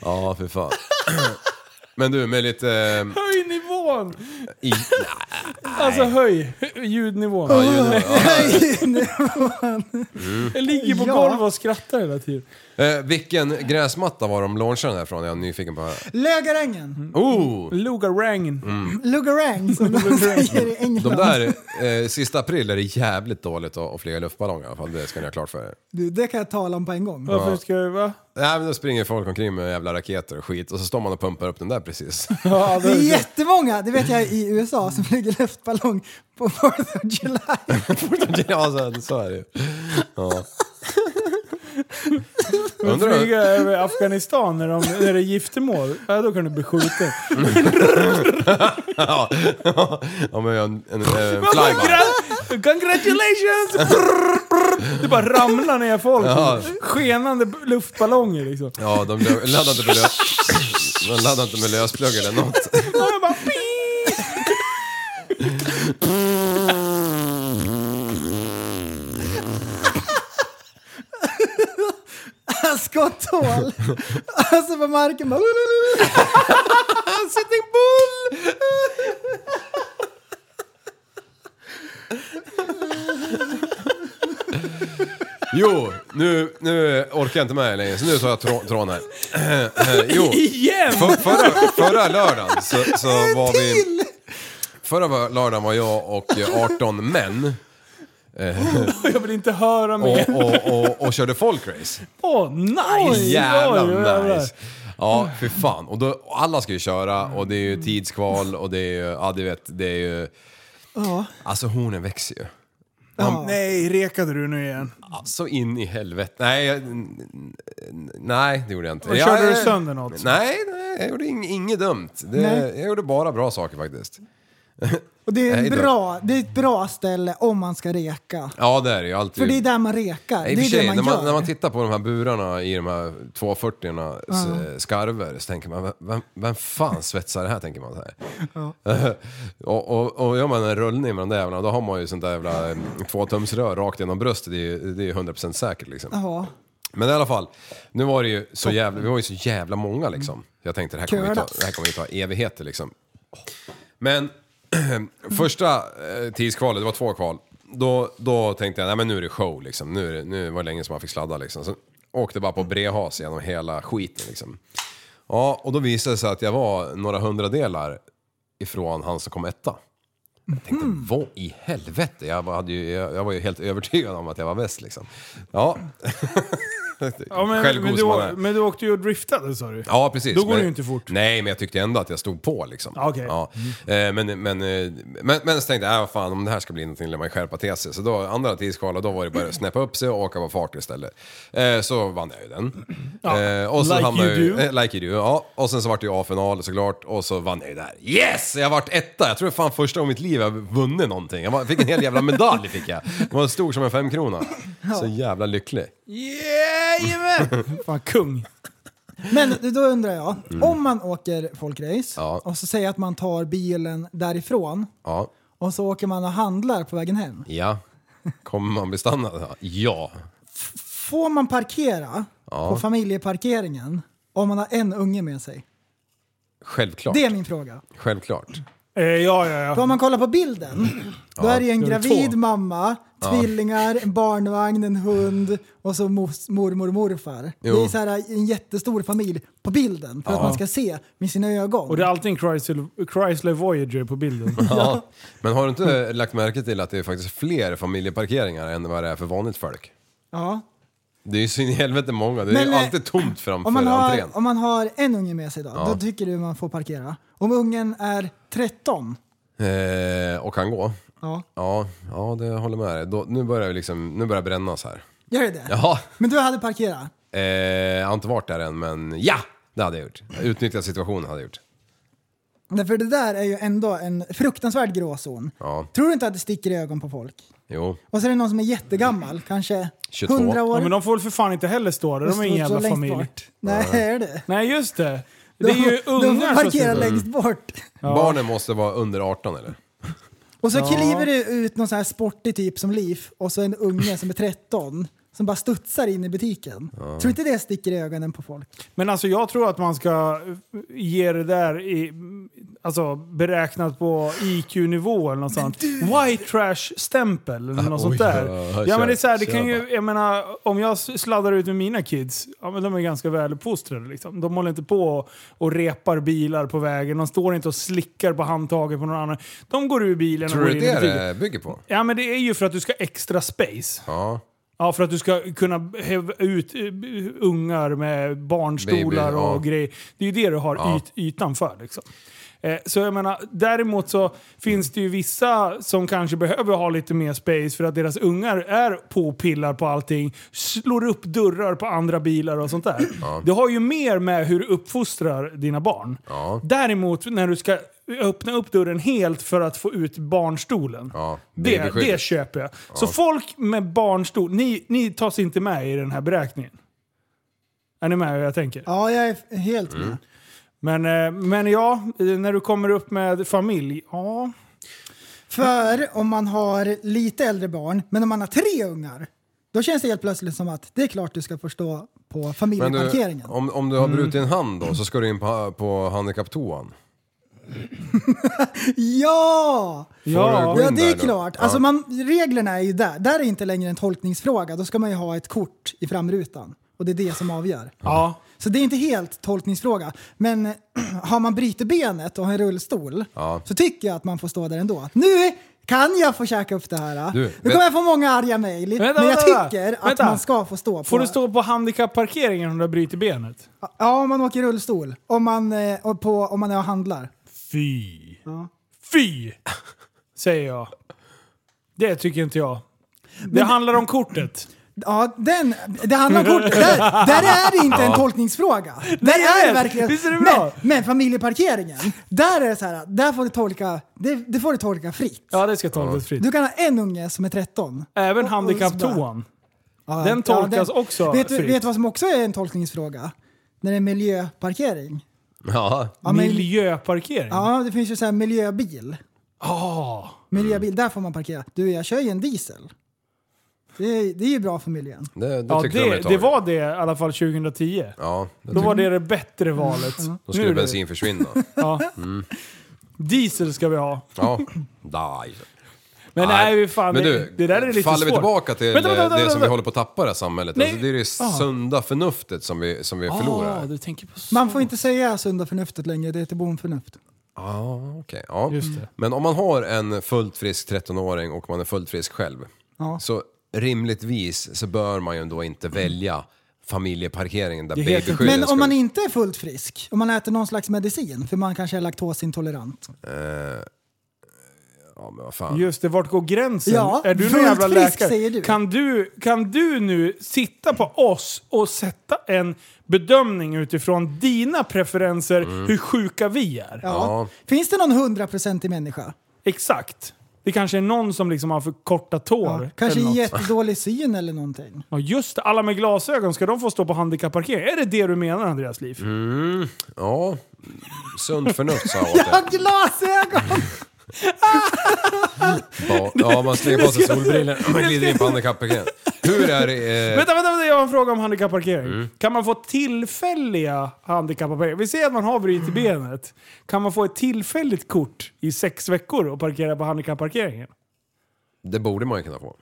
Ja, för fan. Men du, med lite... eh,
Höj nivån!
I,
Alltså höj ljudnivån.
Ja, ju nu. Ja.
Jag ligger på
Ja.
golvet och skrattar hela tiden.
Eh, vilken gräsmatta var de launchade den här från? Jag är nyfiken på att höra.
Mm.
Lögarängen.
Oh!
Lugarang.
Mm.
Lugarang som de säger i
De
England.
där, eh, sista april är det jävligt dåligt att, att flyga luftballong i alla fall. Det ska ni ha klart för er.
Du, det kan jag tala om på en gång.
Varför ska jag... Va?
Nej men då springer folk omkring med jävla raketer och skit och så står man och pumpar upp den där precis.
Ja,
Det är
det,
jättemånga, det vet jag i USA, som flyger luftballong på 4th of July.
ja så, så är det ju. Ja.
men
Undrar-
flyga över Afghanistan när, de, när det är giftermål, ja, då kan du bli skjuten.
Ja, ja men en, en, eh, en flyby.
Congra- Congratulations! Det bara ramlar ner folk.
Ja.
Skenande b- luftballonger liksom.
Ja, de lö- laddar inte med, lö- de laddar inte med lösplugg eller något.
Och jag bara, "Pii!"
Skotthål! Alltså på marken bara... Sitting bull!
Jo, nu, nu orkar jag inte med längre så nu tar jag trå- trån här. Jo,
Igen!
för, förra, förra lördagen så, så var vi... Förra lördagen var jag och eh, 18 män
Jag vill inte höra mer.
och, och, och, och körde folkrace.
Åh, nice!
Jävla
Oj, jävlar.
nice! Ja, för fan. Och då, och alla ska ju köra och det är ju tidskval och det är ju, ja du vet, det är ju... Alltså hornen växer ju.
Nej, rekade du nu igen?
Så in i helvete. Nej, jag, n- n- nej det gjorde jag inte.
Och
jag,
körde du
jag-
sönder något?
Nej, nej jag gjorde ing, inget dumt. Det, jag gjorde bara bra saker faktiskt.
Och det är,
Nej
en
då.
bra, det är ett bra ställe om man ska reka.
Ja, det är det ju alltid.
För det är där man rekar.
Nej, i och
det
för sig,
är det man
när,
gör.
man, när man tittar på de här burarna i de här 240 s skarver så tänker man, "Vem- vem, vem fan svetsar det här? tänker man så här. och, och, och gör man en rullning med de där jävlarna då har man ju sånt där jävla eh, tvåtumsrör rakt genom bröstet. Det är ju det är ju 100% säkert liksom.
Ja.
Men i alla fall, nu var det ju så jävla, vi var ju så jävla många liksom. Jag tänkte det här kommer ju ta, det här kommer ju ta evigheter liksom. Men första eh, tidskvalet, det var två kval, då, då tänkte jag nej men nu är det show liksom. Nu, är det, nu var det länge som man fick sladda liksom. Så åkte bara på brehas genom hela skiten liksom. Ja, och då visade det sig att jag var några hundradelar ifrån han som kom etta. Jag tänkte,
Mm.
vad i helvete? Jag var, hade ju, jag, jag var ju helt övertygad om att jag var bäst liksom. Ja.
Ja, men,
Självgod
men,
som man
du,
är.
men du åkte ju och driftade sa du.
Ja, precis.
Då går
Men-
det ju inte fort.
Nej, men jag tyckte ändå att jag stod på liksom.
Ja, okej. Mm.
Ja. Eh, Men, men, eh, men, men så tänkte jag, äh, vad fan om det här ska bli någonting lär man ju skärpa till sig. Så då, andra tidskvalet, då var det bara att snäppa upp sig och åka på fart istället. Eh, Så vann jag ju den. Eh, Och så
like
hamnade
you
jag ju-
do.
eh, Like you do. Ja. Och sen så vart det ju A-final såklart och så vann jag ju där. Yes! Jag vart etta. Jag tror fan första gången i mitt liv jag vunnit någonting. Jag var- fick en hel jävla medalj fick jag. Den var stor som en femkrona. Så jävla lycklig.
Jajamän! Fan, kung.
Men då undrar jag, om man åker folkrace
Mm. Ja.
och så säger att man tar bilen därifrån
Ja.
och så åker man och handlar på vägen hem.
Ja. Kommer man bli stannad? Ja.
Får man parkera på familjeparkeringen om man har en unge med sig?
Självklart.
Det är min fråga.
Självklart.
Eh, ja, ja,
För
ja.
om man kollar på bilden, då är det ju en
Då är det
gravid
två.
mamma, tvillingar, en barnvagn, en hund och så mos- mormor och morfar. Det är
Jo.
så här eh, en jättestor familj på bilden för att man ska se med sina ögon.
Och det är alltid en Chrysler, Chrysler Voyager på bilden.
Ja. Men har du inte lagt märke till att det är faktiskt fler familjeparkeringar än vad det är för vanligt folk?
ja.
Det är ju så in i helvete många. Det är
Men,
ju
eh,
alltid tomt framför
om, man
entrén.
har, om man har en unge med sig då, då tycker du man får parkera. Om ungen är 13,
Eh, och kan gå.
ja,
Ja, ja det håller jag med dig. Då, nu börjar det liksom, nu börjar det brännas här.
gör det det?
Ja.
Men du hade parkerat?
Eh, jag har inte varit där än men ja! Det hade jag gjort. Utnyttjat situationen hade jag gjort.
Därför det där är ju ändå en fruktansvärd gråzon.
Ja.
Tror du inte att det sticker i ögon på folk?
Jo.
Och så är det någon som är jättegammal, kanske
22.
100 år.
Ja, men de får väl för fan inte heller stå där, de är ingen
Så
jävla
längst
familj.
Bort. Nej, är det?
Nej, just det. Det är ju
de, de
ungar
får
som
parkera
sitter-
längst bort.
Barnen måste vara under 18 eller?
Och så kliver det ut någon så här sportig typ som Liv och så en unge som är 13 som bara studsar in i butiken. Tror inte det sticker i ögonen på folk?
Men alltså jag tror att man ska ge det där i, alltså, beräknat på IQ-nivå eller något sånt. White trash-stämpel eller något sånt
oj,
där.
ja,
Ja,
kör,
men det är så här, det
kör
kan ju,
bara.
jag menar, om jag sladdar ut med mina kids, ja, men de är ganska väluppfostrade. Liksom. De håller inte på och, och repar bilar på vägen. De står inte och slickar på handtaget på någon annan. De går ur bilen
Tror
och går
du
in
det
i
är
butiken.
det bygger på?
Ja men det är ju för att du ska ha extra space.
Ja.
Ja, för att du ska kunna häva ut eh, b- ungar med barnstolar
Baby, ja.
och grejer. Det är ju det du har yt, ytan för. Liksom. Eh, så jag menar, däremot så finns det ju vissa som kanske behöver ha lite mer space för att deras ungar är på och pillar på allting. Slår upp dörrar på andra bilar och sånt där. Det har ju mer med hur du uppfostrar dina barn.
Ja.
Däremot när du ska öppna upp dörren helt för att få ut barnstolen.
Ja,
det,
babyskydd.
det köper jag. Så folk med barnstol, ni, ni tas inte med i den här beräkningen? Är ni med hur jag tänker?
Ja, jag är f- helt
Mm.
med.
Men, eh, men ja, eh, när du kommer upp med familj, ja.
För om man har lite äldre barn, men om man har tre ungar, då känns det helt plötsligt som att det är klart du ska förstå på
Men du,
familjeparkeringen.
om, om du
Mm.
har brutit en hand då så ska du in på, på handikapptoan.
Ja!
Ja,
gå
Ja,
in
det är
där då?
klart.
Ja.
Alltså man, reglerna är ju där. Där är inte längre en tolkningsfråga. Då ska man ju ha ett kort i framrutan. Och det är det som avgör.
ja.
Så det är inte helt tolkningsfråga. Men har man bryter benet och har en rullstol
Ja.
så tycker jag att man får stå där ändå. Nu kan jag få käka upp det här.
Du,
nu
vä-
kommer jag få många arga mejl. Men
Vänta,
jag
vänta,
tycker att
vänta.
man ska få stå på...
Får du stå på handikappparkeringen om du har brutit benet?
Ja, om man åker rullstol. Om man, eh, och på, om man är och handlar.
Fy! Fy! Säger jag. Det tycker inte jag. Det handlar om kortet.
Ja, den, det handlar om kort. Där, där är det inte en tolkningsfråga. Där är det
vet.
verkligen...
Visst är det
men,
bra?
men familjeparkeringen, där är det så här, där får du tolka, det, det får du tolka fritt.
Ja, det ska tolkas fritt.
Du kan ha en unge som är 13.
Även
Och- och sådär.
handikapptoan.
Ja,
Den tolkas också
vet, du,
fritt.
vet du vad som också är en tolkningsfråga? När det är miljöparkering.
Ja.
Ja, men-
Miljöparkering.
ja det finns ju så här miljöbil.
Ah.
Miljöbil, där får man parkera. Du, jag kör ju en diesel. Det, är- det är ju bra för miljön.
Det, det
Ja,
tyckte de
det,
ett tag.
det var det i alla fall 2010.
Ja, det
Då
tyckte-
var det det bättre valet.
Mm.
då skulle
Nu är det-
bensin försvinna.
Ja. Diesel ska vi ha.
Ja. Nej.
Men nej, vi fan,
Men
det,
du,
det där är lite
faller
svårt.
vi tillbaka till
Vänta, vänta,
eh, det
vänta,
som vi
vänta.
håller på att tappa i det här samhället.
Nej.
Alltså, det är det sunda förnuftet som vi, som vi
Ah,
förlorar.
du tänker på så.
Man får inte säga sunda förnuftet längre, det heter bomförnuft.
Ah, okej. ja.
Just det.
Men om man har en fullt frisk 13-åring och man är fullt frisk själv.
Ja.
Så rimligtvis så bör man ju ändå inte välja familjeparkeringen där
Det heter-
babyskydden
Men om
skulle-
man inte är fullt frisk, om man äter någon slags medicin, för man kanske är laktosintolerant.
Ja, men vad fan.
Just det, vart går gränsen?
Ja,
är du någon
fullt
jävla
frisk,
läkare?
säger du.
Kan, du, kan du nu sitta på oss och sätta en bedömning utifrån dina preferenser,
Mm.
hur sjuka vi är?
Ja.
Finns det någon hundraprocentig människa?
Exakt. Det kanske är någon som liksom har för korta tår.
Ja, kanske
eller något.
jättedålig syn eller någonting.
Ja, just det. Alla med glasögon, ska de få stå på handikapparkering? Är det det du menar Andreas Liv?
Mm. ja. Sunt förnuft sa jag åt
Jag
dig.
har glasögon!
Ja, ja, man slänger på sig solbrillor man glider in på handikappparkeringen. Hur är det... Eh,
Vänta, vänta, vänta, jag har en fråga om handikapparkering. Kan man få tillfälliga handikapparkeringar? Vi säger att man har brutit benet. Kan man få ett tillfälligt kort i sex veckor och parkera på handikapparkeringen?
det borde man ju kunna få.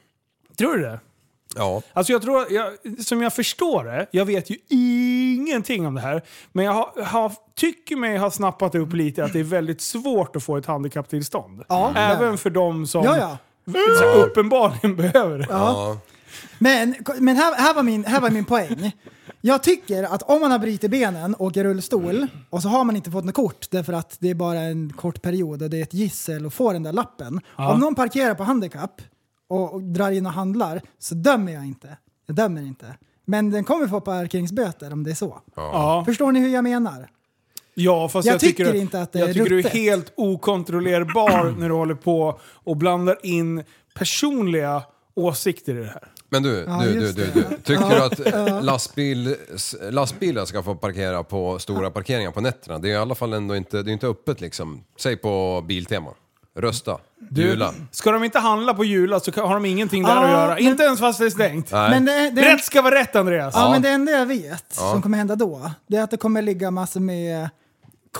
Tror du det?
Ja.
Alltså jag tror, jag, som jag förstår det, jag vet ju ingenting om det här, men jag har, har, tycker mig ha snappat upp lite att det är väldigt svårt att få ett handikapptillstånd.
Ja, det är
Även
det.
för de som
Ja, ja.
Så uppenbarligen behöver det.
Ja.
Men, men här, här, var min, här var min poäng. Jag tycker att om man har brutit benen och åker rullstol och så har man inte fått något kort därför att det är bara en kort period och det är ett gissel att få den där lappen. Om någon parkerar på handikapp och, och drar in och handlar så dömer jag inte. Jag dömer inte. Men den kommer få parkeringsböter om det är så.
Ja,
Förstår ni hur jag menar?
ja fast jag,
Jag
tycker,
tycker inte att det är
Jag tycker du är
ruttet.
helt okontrollerbar när du håller på och blandar in personliga åsikter i det här.
Men du,
Ja,
du, du,
just
du,
det.
du. Tycker du att eh, lastbil, s- lastbilar ska få parkera på stora parkeringar på nätterna? Det är i alla fall ändå inte, det är inte öppet liksom. Säg på Biltema. Rösta.
Du,
Jula.
Ska de inte handla på Jula så kan- har de ingenting där att
Ah,
göra.
men-
Inte ens fast det är stängt.
Nej.
Men det, det,
Rätt ska vara rätt Andreas!
Ja,
Ja.
men det enda jag vet som kommer hända då, det är att det kommer ligga massor med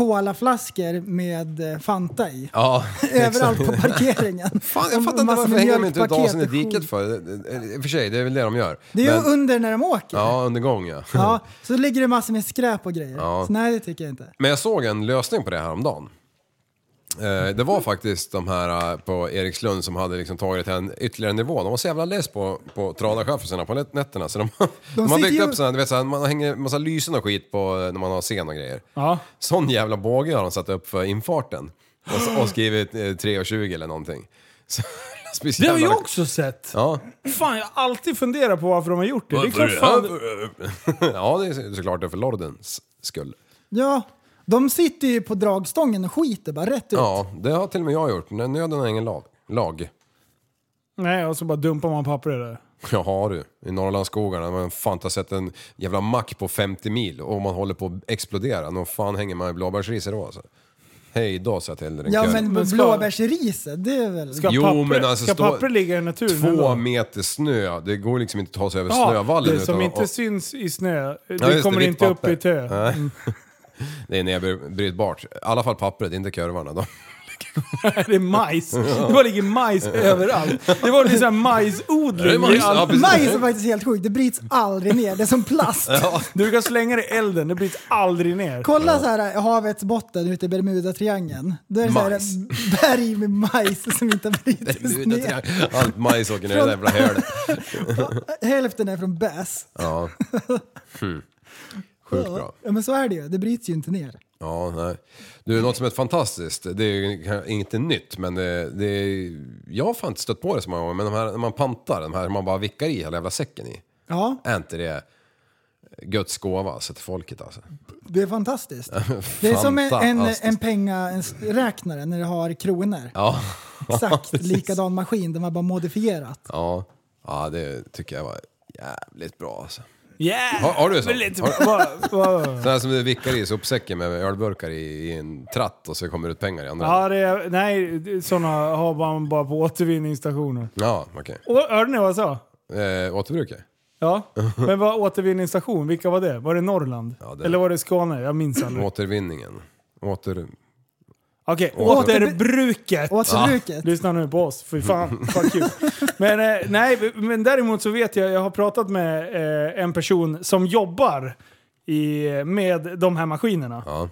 colaflaskor med eh, Fanta i.
Ja,
Överallt på parkeringen.
Fan, jag
Och
fattar inte
massor
varför
med
hänger de inte ut
mjölkpaket
dasen i
och skit.
diket för. I och för sig, det är väl det de gör.
Det är ju
Men-
under när de åker. Ja.
Ja, under gång ja.
så ligger det massor med skräp och grejer.
Ja.
Så nej, det tycker jag inte.
Men jag såg en lösning på det här om dagen. Eh, Det var faktiskt de här eh, på Erikslund som hade liksom tagit det till en ytterligare nivå. De var så jävla less på, på tradarchaufförerna på nätterna så de, de, har
sitter
byggt
ju-
upp sådana, du vet, så här, man hänger massa lysen och skit på eh, när man har scen och grejer.
Ja.
Sån jävla båge har de satt upp för infarten och, s- och skrivit eh, 3.20 eller någonting. Så,
Det har
speciellt-
jag också sett!
Ja.
Fan, jag har alltid funderat på varför de har gjort det. Det är klart fan...
ja, det är såklart det är för lordens skull.
Ja, de sitter ju på dragstången och skiter bara rätt ut.
Ja, det har till och med jag gjort. När Nöden har ingen lag. lag.
Nej, och så bara dumpar man pappret där.
Ja har du, i Norrlandsskogarna. Man fan har sett en jävla mack på 50 mil och man håller på att explodera. Nog fan hänger man i blåbärsrisor då alltså. Hej då sa jag till den
Ja,
kören.
men,
Men ska-
blåbärsriset, det är väl...
Ska
Jo,
papper,
men alltså,
ska
stå-
papper ligga i naturen?
Två
eller?
meter snö, det går liksom inte att ta sig över
Ja,
snövallen
Det som
utan
inte
och,
syns i snö, det
just det,
kommer
vitt
inte upp
papper.
i tö. Mm.
Nej. Det är nedbrytbart. I alla fall pappret, inte kurvarna. De,
Det är majs. Det bara ligger majs överallt. Det var liksom majsodling.
Det är majs,
i all-
ja, precis.
Majs är faktiskt helt sjukt, det bryts aldrig ner. Det är som plast.
Du kan slänga det i elden, det blir aldrig ner.
Kolla så här eh, havets botten ute i Bermudatriangeln. Då är det så här eh,
Majs.
berg med majs som inte har brutits ner.
Allt majs åker ner i det jävla hölet.
Hälften är från bäs.
Ja. Hmm. Sjukt bra.
Ja, men så är det ju, det bryts ju inte ner.
Ja, nej. Du, något som är fantastiskt, det är ju kanske inte nytt, men eh, det, det är, jag har fan inte stött på det så många gånger, men de här, när man pantar, de här man bara vickar i hela jävla säcken i.
Ja,
Är inte det Guds gåva alltså, till folket alltså?
det är fantastiskt. Det är som en, en,
Fantastiskt.
en pengaräknare när du har kronor.
Ja.
Exakt likadan maskin, de har bara modifierat.
Ja. ja, det tycker jag var jävligt bra alltså.
Yeah!
Har, har du så?
Väldigt
Har,
Vad- vad-
sån här som du vickar i sopsäcken med ölburkar i, i en tratt och så kommer det ut pengar i andra änden?
Ja, det är, nej, sådana har man bara på återvinningsstationer.
Ja, okej.
Och, hörde ni vad jag sa?
Eh, återbrukar?
Ja, men vad återvinningsstation, vilka var det? Var det Norrland?
Ja, det-
Eller var det Skåne? Jag minns aldrig.
Återvinningen. Åter...
Okej,
Åter-
återbruket.
Återbruket.
Lyssna nu på oss, fy fan. Fuck you. Men, eh, nej, men däremot så vet jag, jag har pratat med eh, en person som jobbar i, med de här maskinerna.
Ja.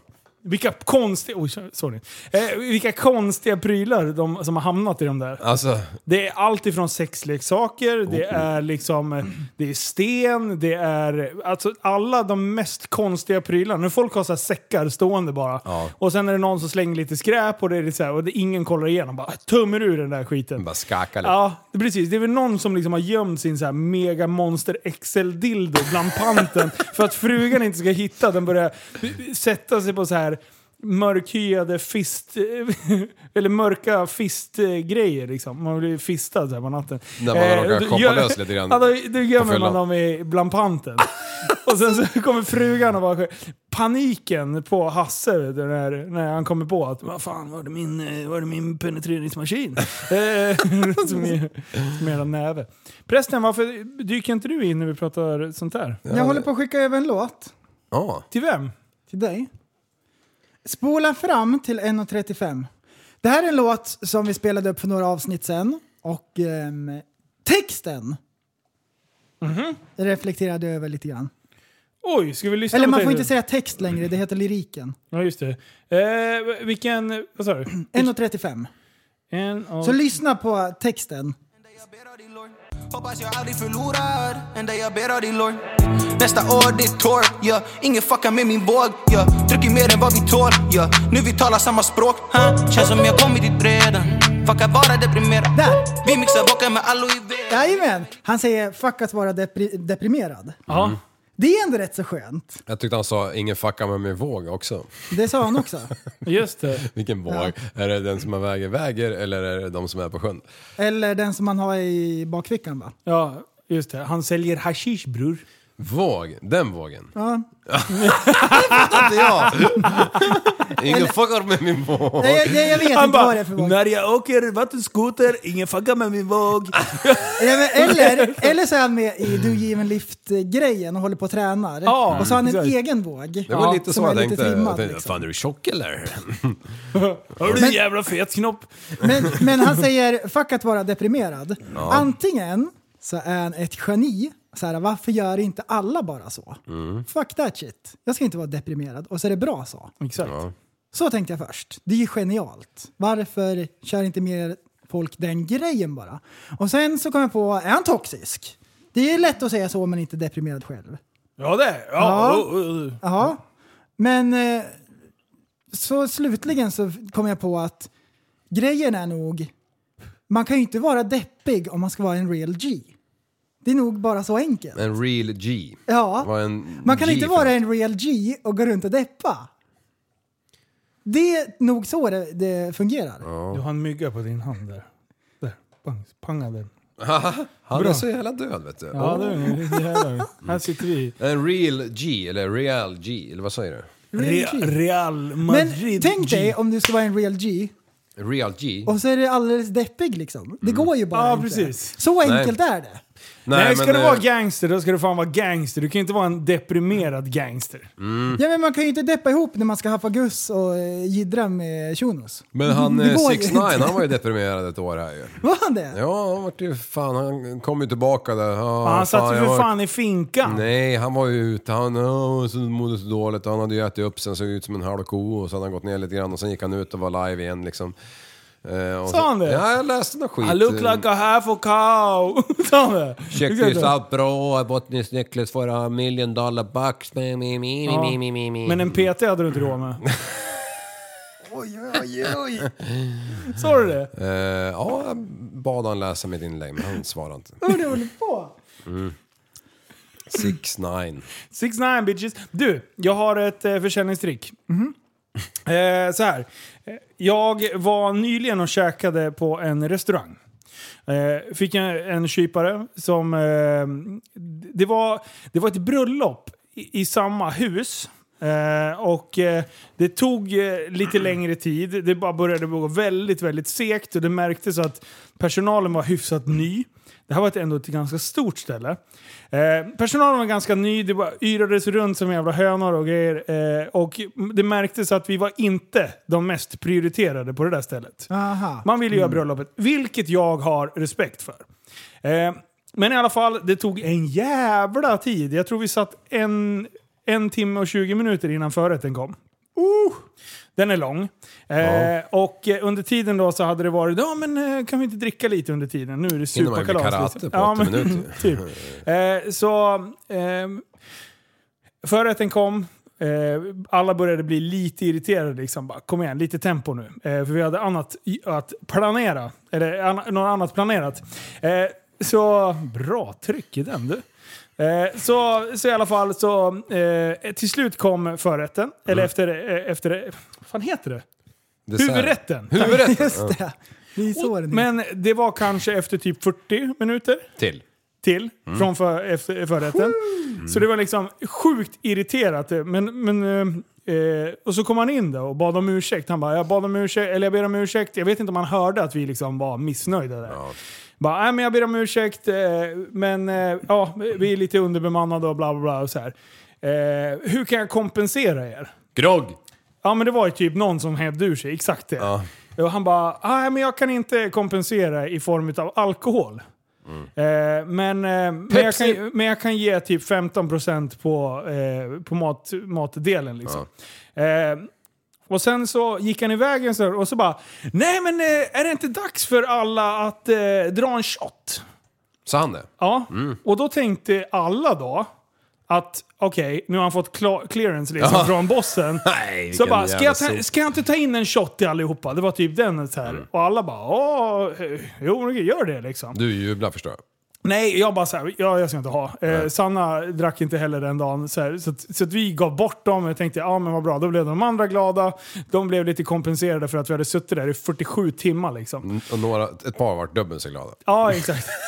Vilka konstiga, oj, sorry. Eh, vilka konstiga prylar de, som har hamnat i de där.
Alltså,
Det är allt ifrån sexleksaker, det är liksom det är sten, det är alltså alla de mest konstiga prylarna. Nu folk har så här säckar stående bara.
Ja.
Och sen är det någon som slänger lite skräp och det är så här, och det, ingen kollar igenom. Bara tömmer ur den där skiten.
bara skaka lite.
Ja, det- precis. Det är väl någon som liksom har gömt sin så här mega monster XL-dildo bland panten för att frugan inte ska hitta den. börjar sätta sig på så här mörkhyade fist... Eller mörka fistgrejer liksom. Man blir fistad så här på natten. Eh,
När man har råkat
då
shoppa
gör-
lös lite grann
Ja, då, då
på
gömmer man
fyllan.
dem i, bland panten. Och sen så kommer frugan och bara... Paniken på Hasse vet du, när, när han kommer på att vad fan var det min, eh, var det min penetreringsmaskin? Eh, som är- som är en näve. Prästen, varför dyker inte du in när vi pratar sånt här?
Jag håller på att skicka över en låt
Ja.
Till vem?
till dig. Spola fram till 1.35. Det här är en låt som vi spelade upp för några avsnitt sen och ehm, texten
Mhm.
reflekterade jag över lite grann.
Oj, ska vi lyssna
Eller
på
man
det
får
nu?
inte säga text längre, det heter lyriken.
Ja, just det. Eh, vilken... Vad sa du?
1.35.
En och...
Så lyssna på texten.
Jag ber av dig Lord Hoppas jag aldrig förlorar en dag jag ber av dig Lord Nästa år det är torr, ja Ingen fuckar med min våg, ja Druckit mer än vad vi tål, ja Nu vi talar samma språk, ha Känns som jag kommit dit redan Fuckar bara deprimerad
Där.
Vi mixar vodka med aloe vera
Jajamän! Han säger “fuck att vara depri- deprimerad”.
Ja.
Det är ändå rätt så skönt.
Jag tyckte han sa ingen fucka med min våg också.
Det sa han också.
Just det.
Vilken våg? Är det den som man väger väger eller är det de som är på sjön?
Eller den som man har i bakfickan va?
Ja, just det. Han säljer hashish, bror.
Våg, den vågen.
Ja.
Inte jag! Ingen fuckar med min våg.
Nej, jag, jag, jag vet inte vad det är för våg.
när jag åker vattenskoter, ingen fuckar med min våg.
Ja, men Eller, eller så är han med i Do You Even Lift-grejen och håller på och tränar.
Ja,
och så har han en
exakt.
egen våg.
Det var lite så jag tänkte. jag tänkte
liksom.
Fan är du tjock eller?
Har du en
Men-
jävla fet knopp?
men, men han säger fuck att vara deprimerad. Antingen så är han ett geni. Så här, varför gör inte alla bara så?
Mm.
Fuck that shit. Jag ska inte vara deprimerad. Och så är det bra så.
Exakt.
Så tänkte jag först. Det är ju genialt. Varför kör inte mer folk den grejen bara? Och sen så kom jag på, är han toxisk? Det är lätt att säga så om man inte är deprimerad själv.
Ja det är
Ja.
ja. oh, oh, oh.
Ja, men eh, så slutligen så kom jag på att grejen är nog, man kan ju inte vara deppig om man ska vara en real G. Det är nog bara så enkelt.
En real G. Vad
Ja,
är en
man kan
G
inte
för
vara
något?
en real G och gå runt och deppa. Det är nog så det, det fungerar.
Du har en mygga på din hand där. Där, pang, panga den.
Han är
Bra.
så jävla död vet du.
Ja, det är det här. Mm. Här sitter vi.
En real G, eller real G, eller vad säger du?
Real G.
Real
Men
Madrid
tänk
G.
dig om du ska vara en real G
Real G?
och så är du alldeles deppig liksom. Det går ju bara
Ja,
inte.
precis.
Så
Mm. Nej.
enkelt är det.
Nej, ska du
eh,
vara gangster då ska du fan vara gangster. Du kan inte vara en deprimerad gangster.
Mm.
Ja men man kan ju inte deppa ihop när man ska haffa guss och eh, jiddra med shunos.
Men han
Det går ju
6 9
inte.
han var ju deprimerad ett år här ju.
Var han det?
Ja, han vart ju fan, han kom ju tillbaka där. Ja,
han satt ju
jag
för
var-
fan i finkan.
Nej, han var ju ute. Han oh, så mådde så dåligt. Han hade ju ätit upp sen, såg ut som en halv ko och så hade han gått ner lite grann och sen gick han ut och var live igen liksom. Eh, och
Sa han det?
Ja, jag läste någon skit. Eh,
I look like a half a cow. Sa han det?
Check
Exakt.
this out bro, I bought this necklace for a million dollar bucks. Me, me, me,
Ja.
me, me, me, me.
Men en PT hade du inte råd med. oj, oj, oj. Sa du det?
Eh, ja, jag bad han läsa mitt inlägg men han svarade inte.
Mm.
Vad du håller på?
6 9
Six nine bitches. Du, jag har ett eh, försäljningstrick. Mhm. Eh, så här. Eh, Jag var nyligen och käkade på en restaurang. Eh, fick en, en kypare som... Eh, det, var, det var ett bröllop i, i samma hus. Eh, och eh, det tog eh, lite längre tid. Det bara började gå väldigt, väldigt segt och det märktes att personalen var hyfsat ny. Det här var ett, ändå ett ganska stort ställe. Eh, personalen var ganska ny, det bara yrades runt som jävla hönor och grejer. Eh, och det märktes att vi var inte de mest prioriterade på det där stället.
Aha.
Man ville
Mm.
göra bröllopet, vilket jag har respekt för. Eh, men i alla fall, det tog en jävla tid. Jag tror vi satt en, en timme och 20 minuter innan förrätten kom. Uh! Den är lång. Eh, Och eh, under tiden då så hade det varit, ja men eh, kan vi inte dricka lite under tiden? Nu är det
Hinner man ju bli
superkalas. liksom.
karate på åtta minuter.
typ. eh, så ehm, Förrätten kom. Eh, alla började bli lite irriterade. Liksom. Bara, kom igen, lite tempo nu. Eh, för vi hade annat i- att planera. Eller an- något annat planerat. Eh, så bra tryck i den du. Eh, så, så i alla fall så eh, till slut kom förrätten. Eller efter, eh, efter... Vad fan heter det? Huvudrätten.
Huvudrätten?
Just det. Det är så det är.
Men det var kanske efter typ 40 minuter
Till. Mm.
till från för, efter, förrätten. Så det var liksom sjukt irriterat. Men, men, eh, eh, och så kom han in där och bad om ursäkt. Han bara, jag bad om ursäkt, eller jag ber om ursäkt. Jag vet inte om han hörde att vi liksom var missnöjda där. Bara, nej men jag ber om ursäkt, eh, men eh, ja, vi är lite underbemannade och bla bla bla och så här. Eh, hur kan jag kompensera er?
Grogg!
Ja men det var ju typ någon som hävde ur sig, exakt det. Och han bara, nej men jag kan inte kompensera i form av alkohol. Eh, men, eh, men, jag
Pepsi.
kan, men jag kan ge typ 15% på, eh, på mat, matdelen liksom. Eh, och sen så gick han iväg en stund och så bara, nej men eh, är det inte dags för alla att eh, dra en shot?
Sa han det?
Ja, och då tänkte alla då att okej, nu har han fått kla- clearance liksom från bossen.
Nej,
så
vilken
bara, ska
jävla
jag, ta,
sop.
ska jag inte ta in en shot till allihopa? Det var typ den så här.
Mm.
Och alla bara, ja, eh, jo, gör det liksom.
Du jublar förstår jag.
Nej, jag bara så här, ja, jag ska inte ha. Eh, Sanna drack inte heller den dagen. Så, här, så, att, så att vi gav bort dem. Jag tänkte, ja men vad bra, då blev de andra glada. De blev lite kompenserade för att
Mm,
vi hade suttit där i 47 timmar liksom.
Och några, ett par vart dubbelt så glada.
Ja, exakt.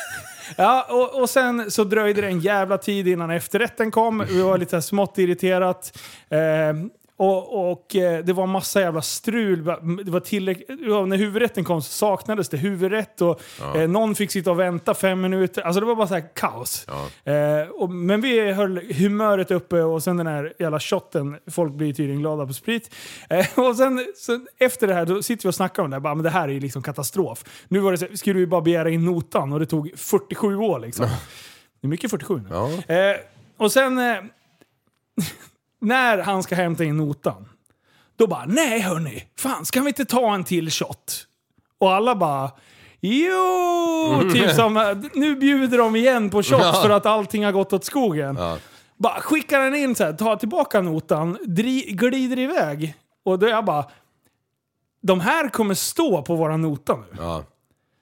Ja, och, och sen så dröjde det en jävla tid innan efterrätten kom. Vi var lite smått irriterat. Eh, och, och eh, det var massa jävla strul. Det var tillräck- ja, när huvudrätten kom så saknades det huvudrätt och eh, någon fick sitta och vänta fem minuter. Alltså det var bara så här kaos. Eh, och, men vi höll humöret uppe och sen den här jävla shotten. Folk blir tydligen glada på sprit. Eh, och sen, sen efter det här då sitter vi och snackar om det här. Bara, men det här är ju liksom katastrof. Nu var det så, här, skulle vi bara begära in notan och det tog 47 år liksom. Det är mycket 47 nu.
Ja.
Eh, och sen eh, när han ska hämta in notan. Då bara, nej hörni, fan ska vi inte ta en till shot? Och alla bara, jo! Typ som, nu bjuder de igen på shots för att allting har gått åt skogen. Bara skickar den in så här, tar tillbaka notan, dri, glider iväg. Och då jag bara, de här kommer stå på våra nota nu.
Ja.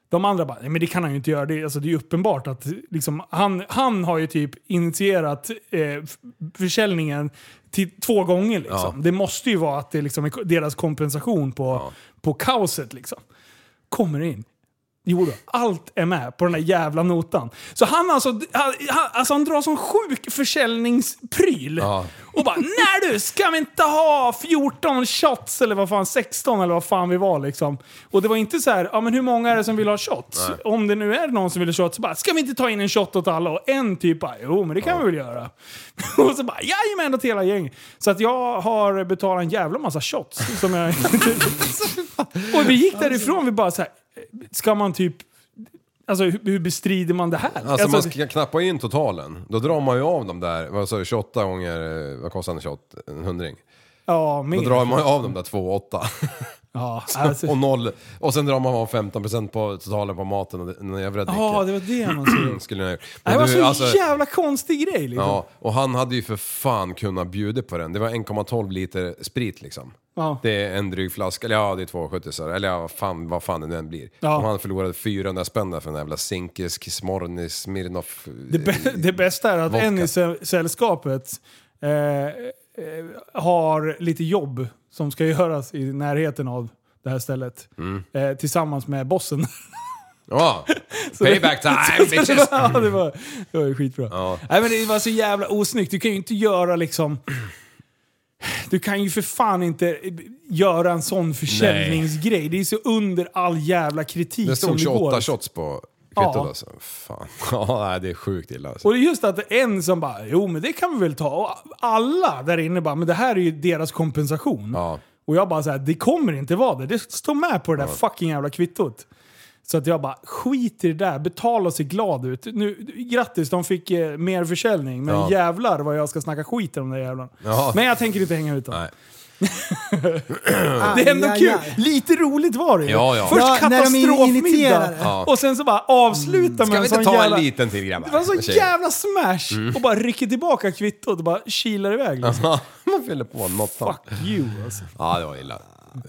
De andra bara, nej men det kan han ju inte göra. Det, är- alltså, det är ju uppenbart att liksom, han, han har ju typ initierat eh, f- försäljningen till, två gånger. Liksom.
Ja.
Det måste ju vara att det liksom är ko- deras kompensation på, på kaoset. Liksom. Kommer in. Jo då, allt är med på den där jävla notan. Så han alltså, han, han- alltså han drar sån sjuk försäljningspryl.
Ja.
Och bara nej du, ska vi inte ha 14 shots eller vad fan 16 eller vad fan vi var liksom. Och det var inte så här, ja men hur många är det som vill ha shots? Om det nu är någon som vill ha shots, så bara ska vi inte ta in en shot åt alla? Och en typ bara, jo men det kan vi väl göra. och så bara jajamän åt hela gänget. Så att jag har betalat en jävla massa shots. Som jag... och vi gick därifrån, vi bara så här, ska man typ, alltså hur hur bestrider man det här?
Alltså man ska knappa in totalen. Då drar man ju av de där, vad sa du, 28 gånger, eh, vad kostar en 28? En hundring.
ja,
Då
mer.
drar man ju av de där 2 8.
ja, alltså.
och noll. Och sen drar man av 15% på totalen på maten och den övriga
Ja, det
drycken.
var det man skulle
Mm, Skulle jag ha gjort.
Det
Men
var
du,
så
alltså-
jävla konstig grej liksom.
Ja, och han hade ju för fan kunnat bjuda på den. Det var 1,12 liter sprit liksom.
Ja.
Det är en dryg flaska, eller ja det är 2,70 så här. eller ja vad fan, vad fan det nu än blir.
Ja.
Om han förlorade 400 spänn där för den jävla Zinkes, Smorny, Smirnoff...
Det, bä- det bästa är att
Vodka.
en i säll- sällskapet eh, eh, har lite jobb som ska göras i närheten av det här stället.
Mm.
Eh, tillsammans med bossen.
Ja! Payback time bitches!
ja, det var, det var ju skitbra. Nej, men det var så jävla osnyggt. Du kan ju inte göra liksom... Du kan ju för fan inte göra en sån försäljningsgrej. Det är så under all jävla kritik
Det
som
stod
det går.
28 shots på kvittot
Ja.
alltså. Fan. Ja, nej, det är sjukt illa alltså.
Och det är just att det är en som bara, jo men det kan vi väl ta. Och alla där inne bara, men det här är ju deras kompensation.
Ja.
Och jag bara så här, det kommer inte vara det. Det står med på det där fucking jävla kvittot. Så att jag bara, skit i det där, betala och se glad ut. Nu, grattis, de fick eh, mer försäljning, men
Ja.
jävlar vad jag ska snacka skit om de där jävlarna.
Ja.
Men jag tänker inte hänga ut dem.
Nej.
Det är ändå
Aj, aj,
kul.
aj.
Lite roligt var det ju.
Ja, ja.
Först
Ja, när de
katastrofmiddag
initierade.
Ja.
och sen så bara avsluta med
Mm. Ska
en
vi
sån
inte ta
jävla...
en liten till grabbar?
Det var en sån
Tjejer.
jävla smash! Och bara rycker tillbaka kvittot och bara kilar iväg. Liksom.
Ja, Man fyller på något.
Fuck you alltså.
Ja, det var illa.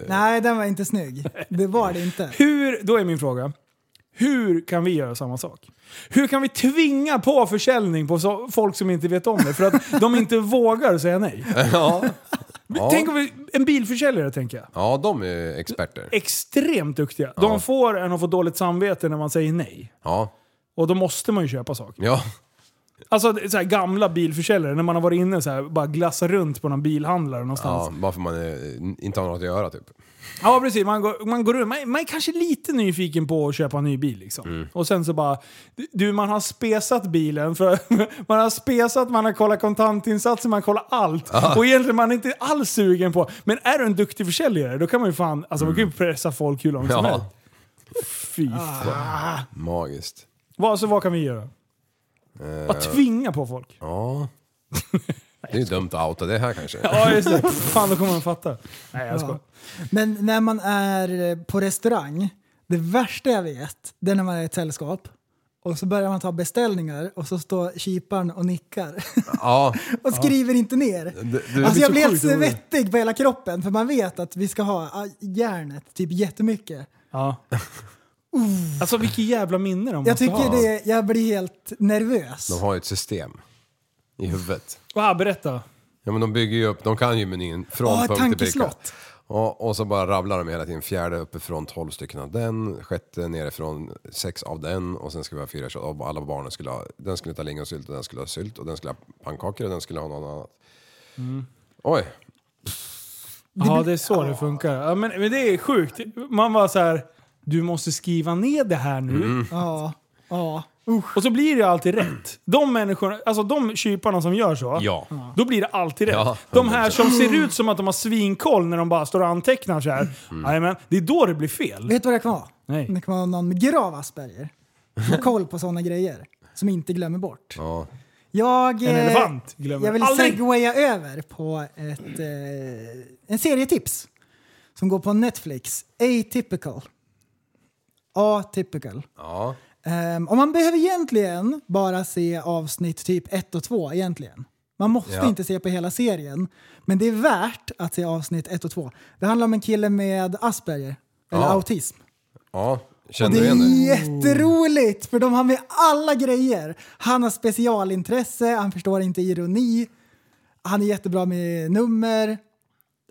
Nej, den var inte snygg. Det var det inte.
Hur, då är min fråga. Hur kan vi göra samma sak? Hur kan vi tvinga på försäljning på så, folk som inte vet om det? För att de inte vågar säga nej.
Ja,
Tänk om vi, en bilförsäljare tänker jag.
ja de är ju experter.
Extremt duktiga. De får en att få dåligt samvete när man säger nej.
Ja,
Och då måste man ju köpa saker.
ja.
Alltså det är så här, gamla bilförsäljare, när man har varit inne så här, bara glassar runt på någon bilhandlare någonstans.
ja bara för man eh, inte har något att göra typ.
Ja, precis. Man går, man går runt. Man, man är kanske lite nyfiken på att köpa en ny bil. Liksom. Och sen så bara... Du, man har spesat bilen. För, man har spesat, man har kollat kontantinsatser, man har kollat allt. Och egentligen man är inte alls sugen på... Men är du en duktig försäljare, då kan man ju fan... Alltså man kan ju pressa folk hur långt som
Ja.
helst. Fy fan.
Magiskt.
Vad, så vad kan vi göra? Bara tvinga på folk.
Ja. Det är ju dumt att outa det här kanske.
Ja, just det. Fan, då kommer man fatta. Nej, jag skojar.
Men när man är eh, på restaurang, det värsta jag vet, det är när man är i ett sällskap och så börjar man ta beställningar och så står kyparen och nickar
Ja,
och skriver inte ner.
du-
alltså
så
jag blir helt
sjukt roligt.
svettig på hela kroppen för man vet att vi ska ha ah, järnet typ jättemycket.
Ja. Alltså vilket jävla minne de
Jag
måste ha.
tycker det, jag blir helt nervös.
de har ju ett system i huvudet.
Wow, berätta.
Ja men de bygger ju upp, de kan ju menyn från
Ja, ett
punkt till pricka.
tankeslott.
Och, och så bara rabblar de hela tiden. Fjärde uppifrån, tolv stycken av den. Sjätte nerifrån, sex av den. Och sen ska vi ha fyra kött. Och alla barnen skulle ha, den skulle ta lingonsylt och den skulle ha sylt. Och den skulle ha pannkakor och den skulle ha något annat. Oj,
Ja, det är så det funkar. Ja, men, men det är sjukt. Man var så här, du måste skriva ner det här nu.
Mm.
Ja. Ja.
Och så blir det alltid rätt. De människorna, alltså de kyparna som gör så,
Ja.
då blir det alltid rätt.
Ja,
de här som ser ut som att de har svinkoll när de bara står och antecknar så här.
Mm.
Jajamän, det är då det blir fel.
Vet du vad det kan vara?
Nej.
Det kan vara någon med grav Asperger. Som har koll på sådana grejer. Som inte glömmer bort.
Ja.
Jag,
En
eh,
elefant glömmer
jag vill
aldrig.
segwaya över på ett, eh, en serietips som går på Netflix. Atypical. Atypical.
Ja.
Ehm, och man behöver egentligen bara se avsnitt typ 1 och 2 egentligen. Man måste
Ja.
inte se på hela serien. Men det är värt att se avsnitt 1 och 2. Det handlar om en kille med Asperger, eller
Ja.
autism.
Ja, känner
Det
du igen
är
det?
jätteroligt för de har med alla grejer. Han har specialintresse, han förstår inte ironi, han är jättebra med nummer.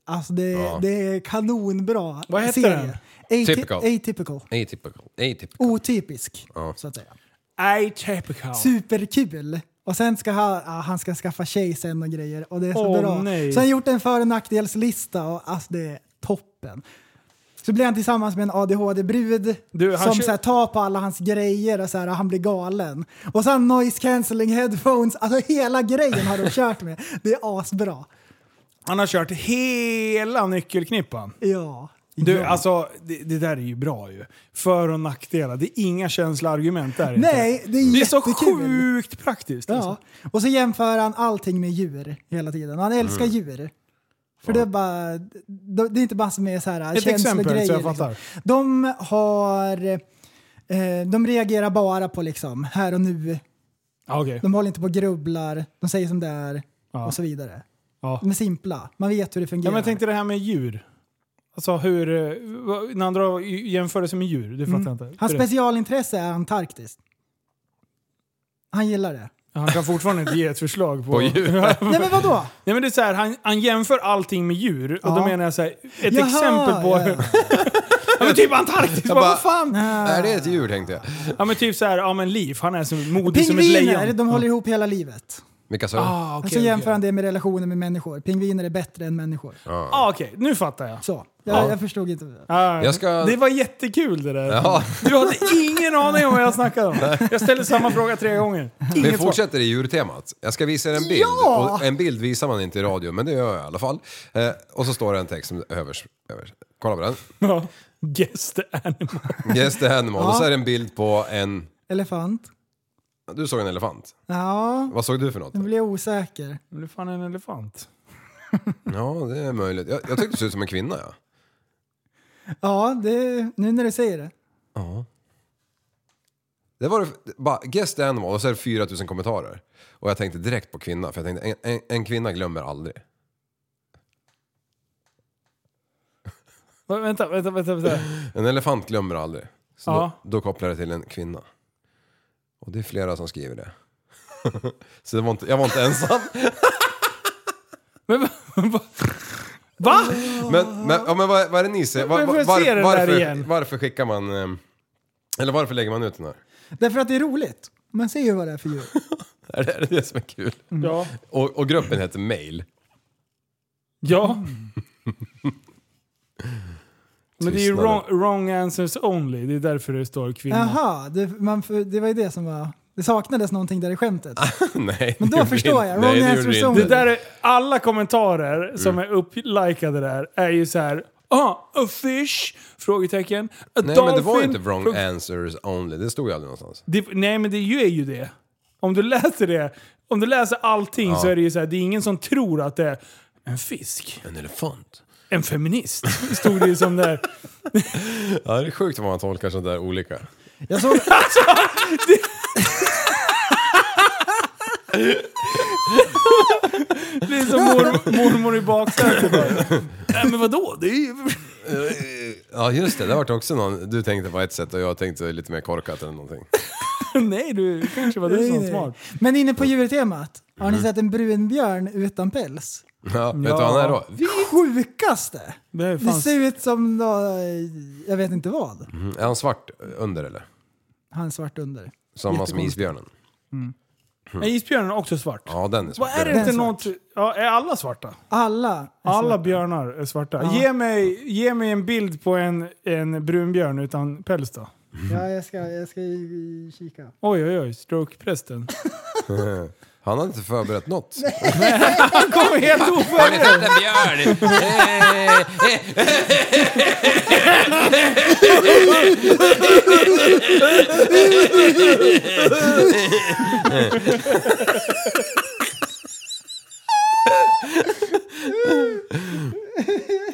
Alltså det,
Ja.
det är kanonbra
Vad heter
serie. Ati-
Typical.
Atypical.
Atypical. Atypical.
Otypisk,
Ja.
så att säga.
Atypical.
Superkul! Och sen ska han, ah, han ska skaffa tjej sen och grejer och det är så
Åh,
bra.
nej.
Så han har gjort en för och nackdelslista och alltså det är toppen. Så blir han tillsammans med en ADHD-brud
Du, han
som
kö-
så här, tar på alla hans grejer och så här, han blir galen. Och så har han noise cancelling headphones, alltså hela grejen har de kört med. Det är asbra.
Han har kört hela nyckelknippan.
Ja.
Du, alltså det, det där är ju bra ju. För och nackdelar. Det är inga känsloargument där. inte.
Nej, det är
Det är så
jättekul.
sjukt praktiskt.
Ja.
alltså.
Och så jämför han allting med djur hela tiden. Han älskar
Mm.
djur. För det är bara, det det är inte bara som är så här liksom.
Ett exempel, så jag fattar.
De har, eh, de reagerar bara på liksom här och nu.
Ja, okej.
De håller inte på och grubblar, de säger som det är
Ja.
och så vidare.
Ja.
De är simpla, man vet hur det fungerar.
Ja, men jag tänkte det här med djur. Alltså hur... eh, vad- När han drar i- jämförelse med djur, det fattar jag inte.
Hans
Hur det-
specialintresse är Antarktis. Han gillar det.
han kan fortfarande inte ge ett förslag på...
På djur.
Nej men vadå?
Nej men det är så här, han, han jämför allting med djur. Och då
Ja.
menar jag så här, ett
Jaha,
exempel på...
ja,
Ja. men typ Antarktis, bara,
bara-
vad fan!
Är det ett djur tänkte jag?
Ja men typ så här, ja men liv, han är så modig som ett
Pingviner,
lejon.
de håller ihop hela livet.
Vilka sa du?
Ah, okej,
så jämför
okej.
han det med relationer med människor. Pingviner är bättre än människor.
Ah, okej, nu fattar jag.
Så. Jag, jag förstod inte.
Ah,
Jag ska-
Det var jättekul det där.
Ja,
Du hade ingen aning om vad jag snackade om. Jag ställde samma fråga tre gånger.
vi
Inget svar.
fortsätter i djurtemat. Jag ska visa er en bild.
Ja!
Och en bild visar man inte i radio, men det gör jag i alla fall. Eh, och så står det en text som övers... övers. Kolla på den.
Ja. Guess the animal.
Yes the animal. Och så är det en bild på en...
Elefant.
Du såg en elefant.
Ja,
Vad såg du för något?
Mm.
nu blir jag osäker.
Men det är fan en elefant.
Ja, det är möjligt. Jag, jag tyckte det såg ut som en kvinna, ja.
Ja, det, nu när du säger det.
Det var det- bara guess the animal och så är det 4000 kommentarer. Och jag tänkte direkt på kvinna, för jag tänkte en, en, en kvinna glömmer aldrig.
Va, vänta, vänta, vänta. vänta.
En elefant glömmer aldrig. Så
Ja.
då, då kopplar jag det till en kvinna. Och det är flera som skriver det. så det var inte, jag var inte ensam.
Men, va, va, va?
Men, men, ja, men vad, vad är det ni säger? Var,
Men får jag se den där
varför,
igen?
varför skickar man... ehm, Eller varför lägger man ut den här?
Därför att det är roligt. Man ser ju vad det är för djur.
Är det är det, det som är kul?
Ja.
Och, och gruppen heter Mail.
Ja. Men det är ju
Tystnaden.
wrong, wrong answers only. Det är därför det står kvinna.
Jaha, det, man, det var ju det som var... Det saknades någonting där i skämtet.
Nej,
Men då
det gjorde
förstår
inte-
jag.
Nej,
Wrong
det
answer
gjorde
is
inte.
only.
Det där är, alla kommentarer som
Mm.
är upplikade där är ju så här. Ah, a fish? Frågetecken. A
Nej,
dolphin?
men det var inte wrong
Fråge-
answers only. Det stod ju aldrig någonstans.
Det, nej, men det är ju- är ju det. Om du läser det, om du läser allting så är det ju så här, det är ingen som tror att det är en fisk.
En elefant.
En feminist. Stod det ju som där.
Ja, det är sjukt vad man tolkar sånt där olika.
Jag såg...
Det är som mor, mormor i baksätet bara. Nej, men vadå? Det är ju...
Ja, just det. Det var också någon... Du tänkte på ett sätt och jag tänkte lite mer korkat eller någonting.
Nej, du kanske var du som var smart.
Men inne på djurtemat. Har ni sett en brunbjörn utan päls?
Ja, vet du vad han är då?
Sjukaste!
Det är
Det
fan...
ser ut som nå- jag vet inte vad.
Mm, Är han svart under eller?
Han är svart under.
Samma som
Jättekonstigt.
isbjörnen?
Är isbjörnen också svart?
Ja, den är
Vad
svart.
är det
Den
inte
är svart.
något... Ja, är alla svarta?
Alla. är
Alla
svarta.
björnar är svarta.
Ja.
Ge, mig, ge mig en bild på en, en brunbjörn utan päls då.
Ja, jag ska, jag ska i- i- kika.
Oj, oj, oj. Strokeprästen.
Han har inte förberett något.
Han kommer helt
Har ni
oförberedd.
sett en björn? Eh, eh,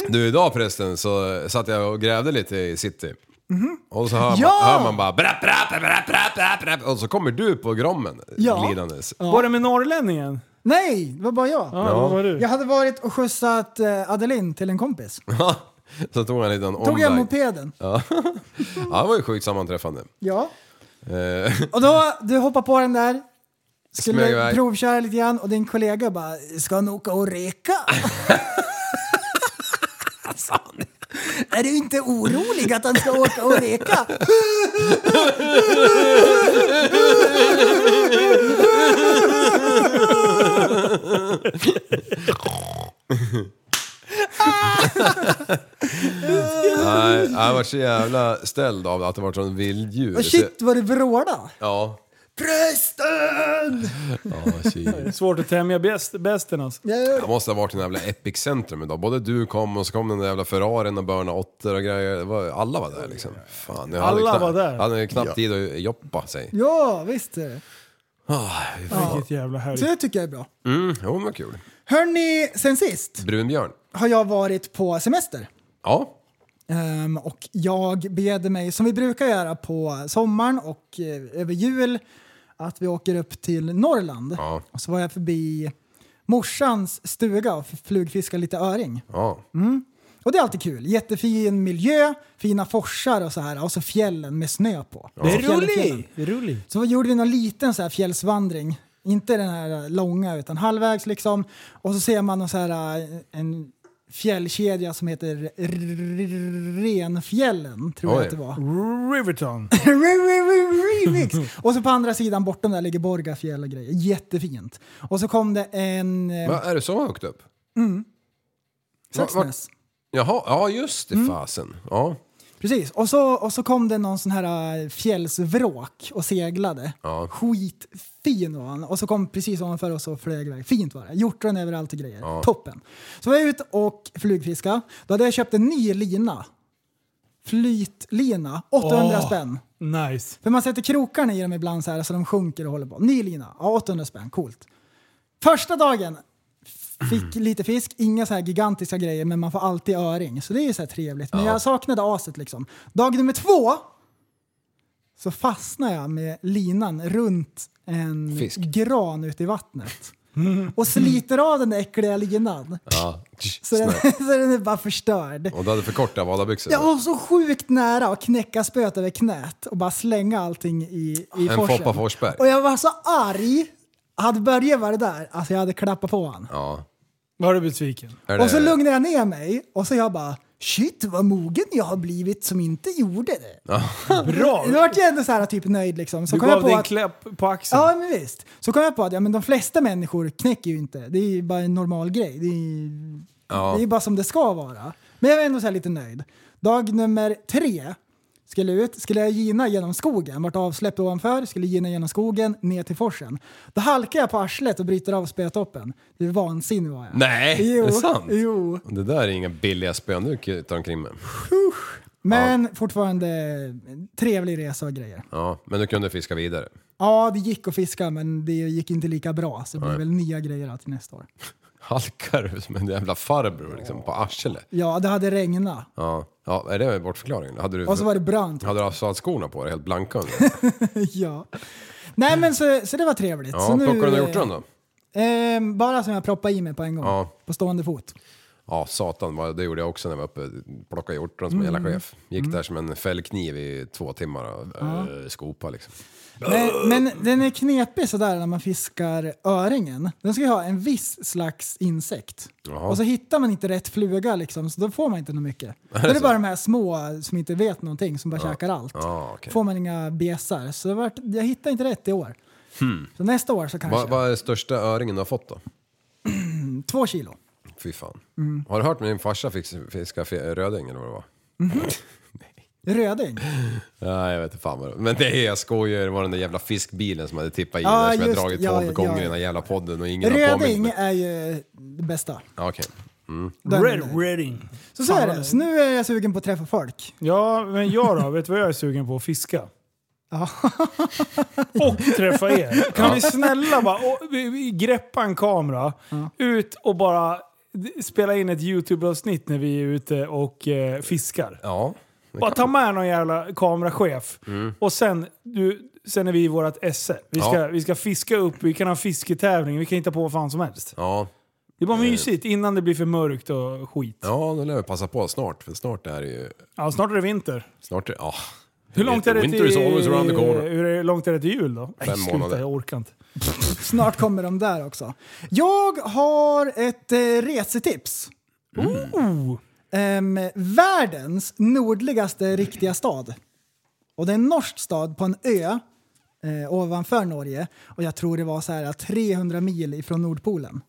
Du, idag förresten så satt jag och grävde lite i city. Och så hör,
Mhm. Ja!
man, hör man bara brapp, brapp, brapp, brapp, brapp, brapp. Och så kommer du på Grommen
Ja.
glidandes.
Var det med norrlänningen?
Nej, det var bara jag.
Ja, vad var du?
Jag hade varit och skjutsat eh, Adeline till en kompis.
så tog han en liten
Tog
omväg.
jag mopeden.
Ja, det var ju sjukt samanträffande.
Ja.
Eh,
Och då, du hoppar på den där.
Smög
Skulle
iväg.
provköra lite grann och din kollega bara “Ska han åka och reka?” Är du inte orolig att han ska åka och reka?
Nej, jag var så jävla ställd av att det var sån vilddjur.
Och shit vad du vrålade!
Ja.
Prästen!
ja shit.
Svårt att tämja bäst- bästen alltså.
Jag måste ha varit i den jävla epicentrum idag. Både du kom och så kom den där jävla Ferrarin och Börna Otter och grejer. Det var, alla var där liksom. Fan, jag hade
Alla
knappt,
var där.
Jag hade knappt tid att joppa sig.
Ja, visst är det.
Vilket jävla härligt.
Så det tycker jag är bra.
Mm, jo men vad kul.
Hörni, sen sist
Brunbjörn.
har jag varit på semester.
Ja.
Ehm, och jag bed mig, som vi brukar göra på sommaren och eh, över jul, att vi åker upp till Norrland.
Ja.
Och så var jag förbi morsans stuga och flugfiskade lite öring.
Ja.
Mm. Och det är alltid kul. Jättefin miljö, fina forsar och så här. Och så fjällen med snö på.
Det är
Fjäll-
roligt!
fjällen.
Det är roligt.
Så gjorde vi någon liten så här fjällsvandring. Inte den här långa utan halvvägs liksom. Och så ser man någon så här, eh, en fjällkedja som heter R- R- Renfjällen, tror jag
Oj.
att det var.
Riverton.
Remix! Och så på andra sidan bortom där ligger Borgafjäll och grejer. Jättefint. Och så kom det en eh,
Va, är det så högt upp?
Saxnäs.
Jaha, ja just
Mm.
det fasen. Ja.
Precis. Och så, och så kom det någon sån här eh, fjällsvråk och seglade.
Ja.
Skitfin var han. Och så kom precis ovanför oss och flög iväg. Fint var det. Hjortron överallt och grejer. Toppen. Så var jag ute och flugfiska. Då hade jag köpt en ny lina. Flytlina. 800
Åh.
spänn.
Nice.
För man sätter krokarna i dem ibland så här så de sjunker och håller på. Ny lina, ja, 800 spänn, coolt. Första dagen fick
Mm.
lite fisk, inga så här gigantiska grejer men man får alltid öring. Så det är ju så här trevligt. Men jag saknade aset liksom. Dag nummer två så fastnade jag med linan runt en
Fisk. Mm.
gran ute i vattnet. Och sliter av den där äckliga linan.
ja.
Så den,
Snäll.
så den är bara förstörd.
Och du hade för korta vadarbyxor?
Jag var så sjukt nära att knäcka spöet över knät och bara slänga allting i, i
En
forsen.
Foppa Forsberg.
Och jag var så arg. Hade Börje varit där, alltså jag hade klappat på honom.
Ja.
Var du besviken?
Är
Och så
det-
lugnade jag ner mig och så jag bara Shit vad mogen jag har blivit som inte gjorde det.
Bra!
Då vart jag ändå så här typ nöjd liksom. Så
Du
kom jag
gav dig
på
en
att,
klapp på axeln.
Ja men visst. Så kom jag på att ja, men de flesta människor knäcker ju inte. Det är ju bara en normal grej. Det är ju
Ja.
det är bara som det ska vara. Men jag var ändå så här lite nöjd. Dag nummer tre skulle ut, skulle jag gina genom skogen, vart avsläppt ovanför, skulle gina genom skogen, ner till forsen. Då halkar jag på arslet och bryter av spötoppen. Det är vansinnig var jag.
Nej,
jo,
är det sant?
Jo.
Det där är inga billiga spön du kutar omkring med.
Men fortfarande trevlig resa och grejer.
Ja, men du kunde fiska vidare.
Ja, det gick att fiska men det gick inte lika bra så det blir väl nya grejer här till nästa år.
Halkar du som en jävla farbror liksom, på arslet?
Ja, det hade regnat
Ja. ja, är det bortförklaringen? Hade du,
och så var det brant.
hade du asfaltskorna på dig, helt blanka under?
Ja. Nej men så, så det var trevligt.
Ja,
så
plockade du
eh,
några hjortron då?
Ehm, bara som jag proppade i mig på en gång.
Ja.
På stående fot.
Ja, satan, vad- det gjorde jag också när jag var uppe plockade hjortron som hela
Mm.
chef. Gick där som en fällkniv i två timmar och eh, skopa liksom.
Men, men den är knepig sådär när man fiskar öringen. Den ska ju ha en viss slags insekt.
Jaha.
Och så hittar man inte rätt fluga liksom, så då får man inte något mycket. Då är det bara de här små som inte vet någonting, som bara käkar allt.
Ja, okej.
Får man inga besar. Så det vart, jag hittade inte rätt i år.
Hmm.
Så nästa år så kanske.
Vad vad är det största öringen du har fått då?
Två kilo.
Fy fan.
Mm.
Har du hört när din farsa fick fiska fe- röding eller vad det var?
Röding.
Nej, jag vet inte fan vad det var. Men det är, jag skojar, det var den där jävla fiskbilen som hade tippat i
Ja,
där som jag
just-
dragit
ja,
tolv
ja,
gånger
ja.
i den här jävla podden och ingen har påmint
Röding
mig.
är ju det bästa.
Ja, Okej.
Den-
Red Redding.
Så så är det. Så alltså, nu är jag sugen på att träffa folk.
Ja, men jag då? Vet du vad jag är sugen på? Att fiska. och träffa er. Kan vi snälla bara och, vi, vi, greppa en kamera, ut och bara d- spela in ett YouTube-avsnitt när vi är ute och eh, fiskar.
Ja.
Bara ta med någon jävla kamerachef. Och sen, du, sen är vi i vårt esse. Vi ska,
Mm. Ja.
vi ska fiska upp, vi kan ha fisketävling, vi kan hitta på vad fan som helst.
Ja.
Det är bara mysigt innan det blir för mörkt och skit. Ja,
Eh. ja, då lär vi passa på snart. För snart är det ju...
snart är det vinter.
Snart är, ja.
Hur långt är det till,
Winter is always around the corner.
Hur är- långt är det till jul då? Nej,
Fem
sluta,
månader.
Jag orkar inte.
Snart kommer de där också. Jag har ett eh, resetips.
Oh,
Ehm, världens nordligaste riktiga stad. Och det är en norsk stad på en ö eh, ovanför Norge. Och jag tror det var så här 300 mil ifrån Nordpolen.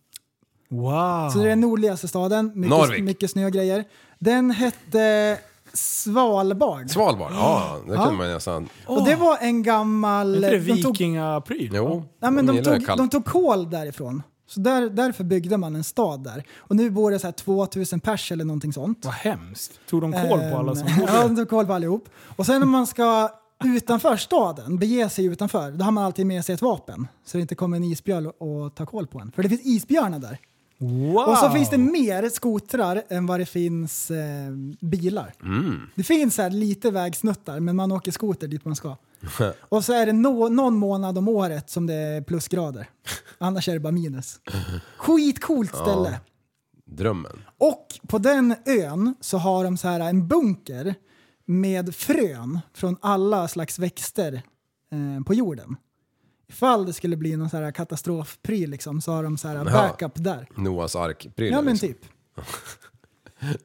wow.
Så det är den nordligaste staden. Mycket,
Narvik.
mycket snö och grejer. Den hette Svalbard.
Svalbard, ja. Det kunde man nästan...
Och det var en gammal...
är inte det
de tog-
vikingapryl?
Jo.
Ja, men de,
gillar
tog,
kallt.
de tog kol därifrån. Så där, därför byggde man en stad där. Och nu bor det så här 2000 pers eller någonting sånt.
Vad hemskt. Tog de kol på alla som
Ehm, Ja, de tog koll på allihop. Och sen när man ska utanför staden, bege sig utanför, då har man alltid med sig ett vapen. Så det inte kommer en isbjörn och tar koll på en. För det finns isbjörnar där.
Wow.
Och så finns det mer skotrar än vad det finns eh, bilar. Det finns så här lite vägsnuttar, men man åker skoter dit man ska. Och så är det nå- någon månad om året som det är plusgrader. Annars är det bara minus. Skitcoolt ställe.
Drömmen.
Och på den ön så har de så här en bunker med frön från alla slags växter eh, på jorden. Ifall det skulle bli någon så här katastrofpryl liksom, så har de så här backup där.
Noas ark-prylar.
Ja men
liksom.
typ.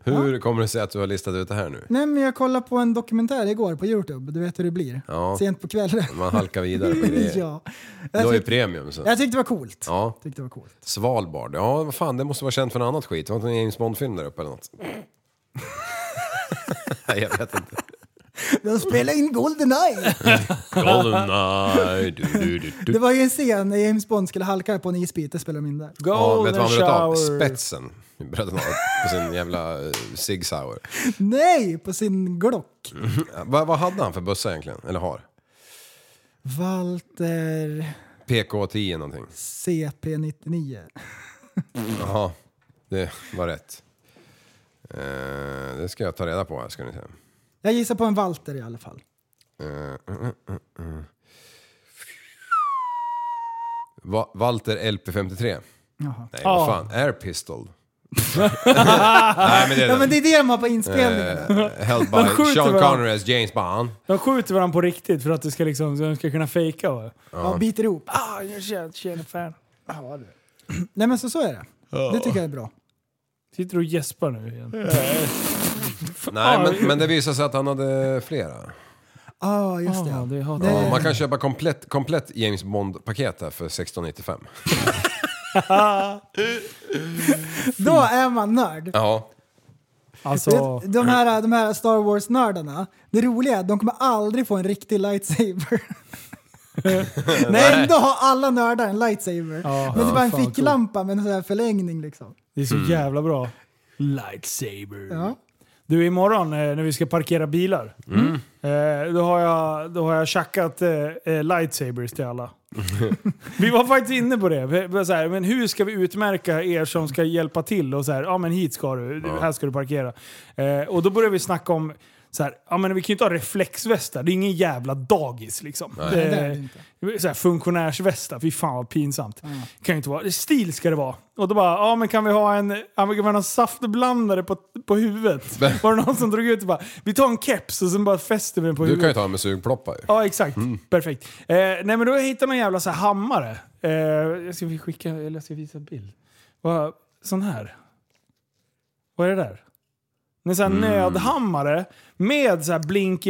Hur kommer det sig att du har listat ut det här nu?
Nej men jag kollade på en dokumentär igår på Youtube, du vet hur det blir.
Ja.
Sent på kvällen.
Man halkar vidare på grejer.
ja.
Du har
jag,
ju
tyck-
premium. Så.
jag tyckte det var coolt.
Ja.
Tyckte det var coolt.
Svalbard, ja vad fan det måste vara känt för något annat skit. Var det inte en James Bond-film där uppe eller något? Nej jag vet inte.
De spelade in Goldeneye!
Goldeneye, du, du, du,
Det
du.
var ju en scen när James Bond skulle halka på en isbit, det spelade de in där.
Ja, vet du vad han bröt av?
shower.
Spetsen bröt han av på sin jävla eh, Sig Sauer.
Nej! På sin Glock.
Vad, vad hade han för bössa egentligen? Eller har?
Walter
PK10 någonting?
CP99.
Jaha, det var rätt. Eh, det ska jag ta reda på här ska ni se.
Jag gissar på en Walter i alla fall.
Va- Walter LP53?
Jaha.
Nej
Ja.
vad fan, Air Pistol? Nej men det är
Ja
den.
men det är det de har på inspelningen.
Eh, held
De
by
skjuter
Sean
varandra.
Connery as James Bond.
De skjuter varandra på riktigt för att det ska liksom, så de ska kunna fejka va?
Ja, biter ihop.
Ah, jag känner, känner fan.
Nej men så, så är det. Det tycker jag är bra.
Sitter du och gäspar nu igen?
Nej, men, men det visade sig att han hade flera.
Ja, ah, just det.
Ja,
Ja.
det har
Nej.
Ja, man kan köpa komplett, komplett James Bond-paket här för 16,95.
Då är man nörd.
Ja.
Alltså,
Vet, de, här, de här Star Wars-nördarna, det roliga är att de kommer aldrig få en riktig lightsaber. Nej, ändå har alla nördar en lightsaber.
Ja,
men det är bara en
fan,
ficklampa med en sån här förlängning liksom.
det är så jävla bra. Lightsaber.
Ja.
Du, imorgon eh, när vi ska parkera bilar, eh, då, har jag, då har jag tjackat eh, eh, lightsabers till alla. vi var faktiskt inne på det. Vi var Så här, men hur ska vi utmärka er som ska hjälpa till? Och så här, ja men hit ska du, här ska du parkera. Eh, och då började vi snacka om så här, ja, men vi kan ju inte ha reflexvästar, det är ingen jävla dagis liksom.
det är det
Eh, så här, funktionärsvästar, fy fan vad pinsamt. Kan ju inte vara. Stil ska det vara. Och då bara, ja men kan vi ha en, ja, men kan vi ha en saftblandare på, på huvudet? Var det någon som drog ut och bara, vi tar en keps och sen bara fäster vi den på
Du
huvudet.
kan ju ta med sugploppa ju. Mm.
Ja, exakt. Perfekt. Eh, nej, men då hittade jag någon jävla så här hammare. Eh, jag ska vi skicka, eller jag ska visa en bild. Vad- sån här. Vad är det där? En sån
Mm.
här nödhammare med så här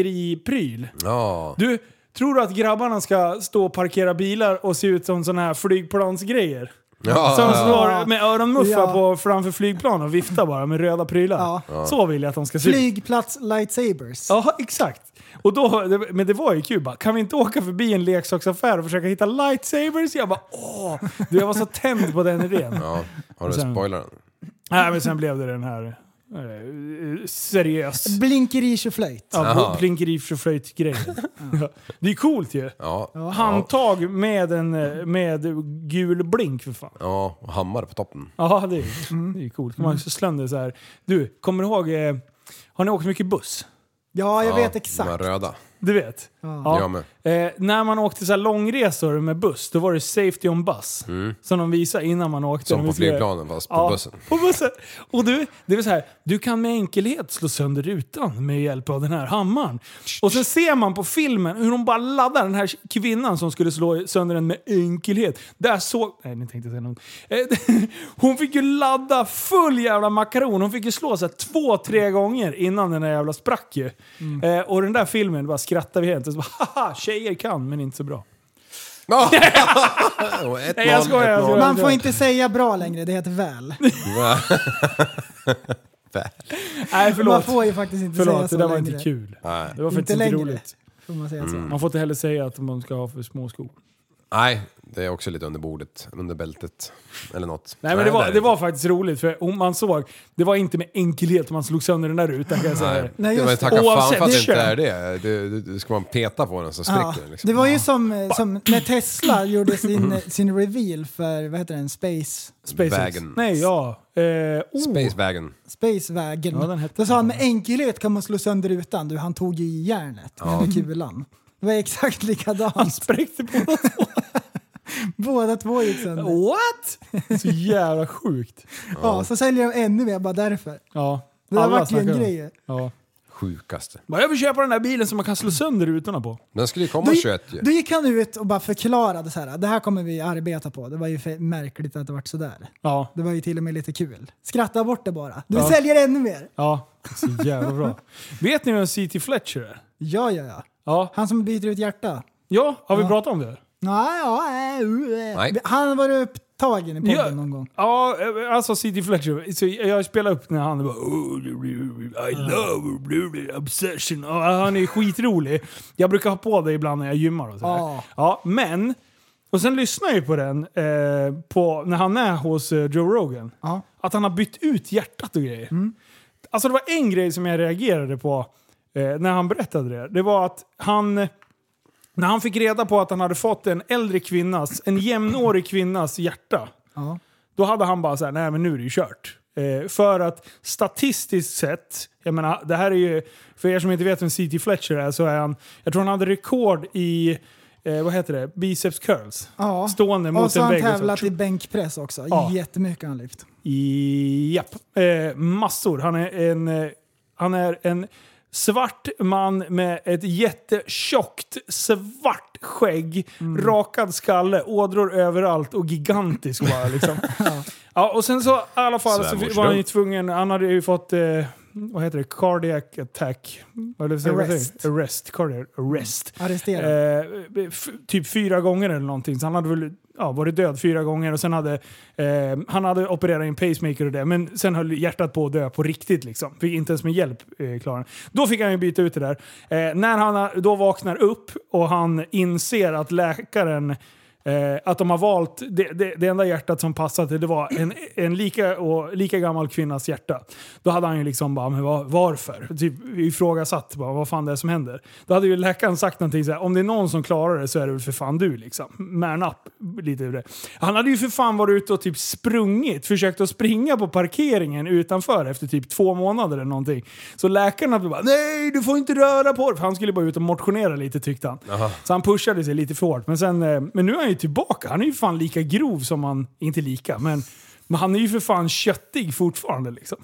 blinkeri-pryl.
Ja.
Du, tror du att grabbarna ska stå och parkera bilar och se ut som såna här flygplansgrejer?
Ja,
Som
ja, Ah. ja.
står med öronmuffar
Ja.
på framför flygplan och viftar bara med röda prylar.
Ja.
Så vill jag att de ska se ut.
Flygplats lightsabers.
Ja, exakt. Och då, men det var ju kul bara, kan vi inte åka förbi en leksaksaffär och försöka hitta lightsabers? Jag bara åh! Du, jag var så tänd på den idén.
ja. Har du
Sen-
spoilaren?
Nej, men sen blev det den här eh, seriös.
Blinkeri tjoflöjt.
Ja,
Jaha.
plinkeri för flöjt-grejen. Ja. Det är coolt ju.
Ja. Ja.
Handtag med en eh, med gul blink för fan.
ja. Och hammare på toppen.
Ja, det är, det är coolt. Man slår så här. Du, kommer du ihåg, eh, har ni åkt mycket buss?
Ja, jag
ja,
vet
De här
exakt.
röda.
Du vet?
Ja. Jag med.
Eh, när man åkte så här långresor med buss, då var det safety on bus. Som de visade innan man åkte.
Mm. Som
Vi
på
skulle-
flygplanen fast på
Ja,
bussen.
på bussen. Och du, det är så här, du kan med enkelhet slå sönder rutan med hjälp av den här hammaren. Och sen ser man på filmen hur de bara laddar den här kvinnan som skulle slå sönder den med enkelhet. Där såg... Nej, nu tänkte jag säga något. Eh, Hon fick ju ladda full jävla makaron. Hon fick ju slå så här två, tre gånger innan den där jävla sprack ju.
Mm.
Eh, och den där filmen, bara skrattar vi helt. Och så bara, haha, tjejer kan men inte så bra.
Ja. Och ett
Nej, jag
noll,
skojar,
ett
jag
noll.
skojar.
Man får inte säga bra längre, det heter väl.
Nej,
Man
förlåt.
får ju faktiskt inte säga
Förlåt,
så
det där var
längre.
inte kul. Mm.
Nej.
Det var faktiskt
Inte
inte,
längre.
roligt.
Får man säga så.
Man får inte heller säga att man ska ha för små skor.
Nej, det är också lite under bordet. Under bältet. Eller något.
Nej men det
är
var, det
inte.
var faktiskt roligt för om man såg, det var inte med enkelhet man slog sönder den där rutan kan jag säga.
Nej,
Nej,
det var ju
just det.
tacka fan
Oavsett
för att det inte
kön.
är det. Det, det, det. Ska man peta på den så
Ja,
spricker den liksom.
det var ju som, eh, som när Tesla gjorde
Mm.
sin, sin reveal för, vad heter den, Space,
SpaceX.
Vägen.
Nej, ja. Eh, oh.
Spacewagon.
Spacewagen.
Ja, den hette-
Då sa han med enkelhet kan man slå sönder rutan. Du, han tog ju i järnet med kulan. Det var exakt
Han
likadant.
spräckte Oh. på
Båda två gick sönder.
What? Så jävla sjukt.
Ja, så säljer de ännu mer bara därför.
Ja.
Det där
alla
vart ju en
snackar om det.
grej.
Ja.
Sjukaste.
Bara, jag vill köpa den där bilen som man kan slå sönder rutorna på.
Den skulle ju komma
Då,
21 ju.
då gick han ut och bara förklarade så här. Det här kommer vi arbeta på. Det var ju för märkligt att det vart sådär.
Ja.
Det var ju till och med lite kul. Skratta bort det bara. Du
Ja.
säljer ännu mer.
Ja. Så jävla bra. Vet ni vem C.T. Fletcher är?
Ja, ja, ja.
Ja.
Han som byter ut hjärta.
Ja, har vi
Ja.
pratat om det?
Nej, ja, äh, uh, äh.
Nej.
Han har varit upptagen i podden
Ja.
någon gång.
Ja, eh, alltså C.D. Fletcher. Så jag spelar upp när han bara oh, I love obsession. Och han är skitrolig. Jag brukar ha på det ibland när jag gymmar och sådär.
Ja.
Ja, men... Och sen lyssnar jag ju på den eh, på, när han är hos eh, Joe Rogan.
Ja. Mm.
Att han har bytt ut hjärtat och grejer. Alltså det var en grej som jag reagerade på eh, när han berättade det. Det var att han... När han fick reda på att han hade fått en äldre kvinnas, en jämnårig kvinnas hjärta.
Ja.
Då hade han bara såhär, nej men nu är det ju kört. Eh, för att statistiskt sett, jag menar det här är ju, för er som inte vet vem C.T. Fletcher är så är han, jag tror han hade rekord i, eh, vad heter det, biceps curls.
Ja.
Stående mot
Och så
en
har han
vägg. och så-
tävlat i bänkpress också.
Ja.
Jättemycket har han lyft.
I- Japp. Eh, massor. Han är en, eh, han är en svart man med ett jättetjockt svart skägg, rakad skalle, ådror överallt och gigantisk bara liksom. ja, och sen så i alla fall så
Svärmorsdom.
var han ju tvungen, han hade ju fått eh, vad heter det? Cardiac attack. Vad är det, vad
Arrest.
säger man? Arrest. Cardiac arrest.
Arresterad.
Eh, f- typ fyra gånger eller någonting. Så han hade väl ja, varit död fyra gånger och sen hade eh, han hade opererat i en pacemaker och det. Men sen höll hjärtat på att dö på riktigt liksom. Fick inte ens med hjälp eh, klara den. Då fick han ju byta ut det där. Eh, när han då vaknar upp och han inser att läkaren Eh, att de har valt, det, det, det enda hjärtat som passade det var en, en lika, och, lika gammal kvinnas hjärta. Då hade han ju liksom bara, men var, varför? Typ ifrågasatt bara, vad fan det är som händer. Då hade ju läkaren sagt någonting så här, om det är någon som klarar det så är det väl för fan du liksom. Man up, lite ur det. Han hade ju för fan varit ute och typ sprungit, försökt att springa på parkeringen utanför efter typ två månader eller någonting. Så läkarna bara, nej du får inte röra på dig. För han skulle bara ut och motionera lite tyckte han. Så han pushade sig lite för hårt. Men, sen, eh, men nu är han ju tillbaka. Han är ju fan lika grov som han, inte lika, men, men han är ju för fan köttig fortfarande liksom.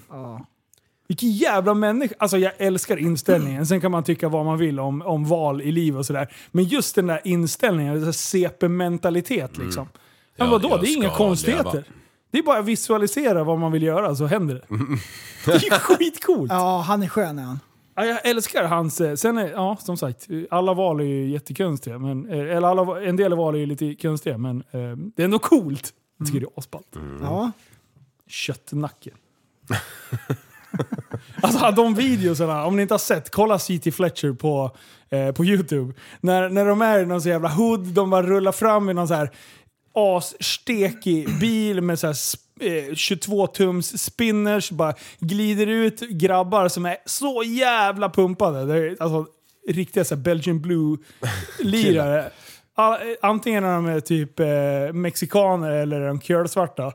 Vilken jävla människa. Alltså jag älskar inställningen. Sen kan man tycka vad man vill om, om val i liv och sådär. Men just den där inställningen, den där CP-mentalitet liksom. Men
Mm. Ja,
vadå,
jag
det är inga
ska
konstigheter.
leva.
Det är bara att visualisera vad man vill göra så händer det. Det är ju skitcoolt. Ja.
Ja, han är skön är han.
jag älskar hans... eh, Sen är, ja som sagt, eh, alla val är ju jättekonstiga. Men, eh, eller alla, va- en del val är ju lite konstiga men eh, det är ändå coolt. Jag tycker det är asballt.
Ja.
Köttnacke. alltså de videosarna, om ni inte har sett, kolla C.T. Fletcher på, eh, på YouTube. När, när de är i någon så jävla hood, de bara rullar fram i någon så här asstekig bil med så här sp- eh, 22-tums spinners, bara glider ut grabbar som är så jävla pumpade. Det är, alltså riktiga så här Belgian blue-lirare. Ah, eh, Antingen är de eh, typ eh, mexikaner eller är de kölsvarta.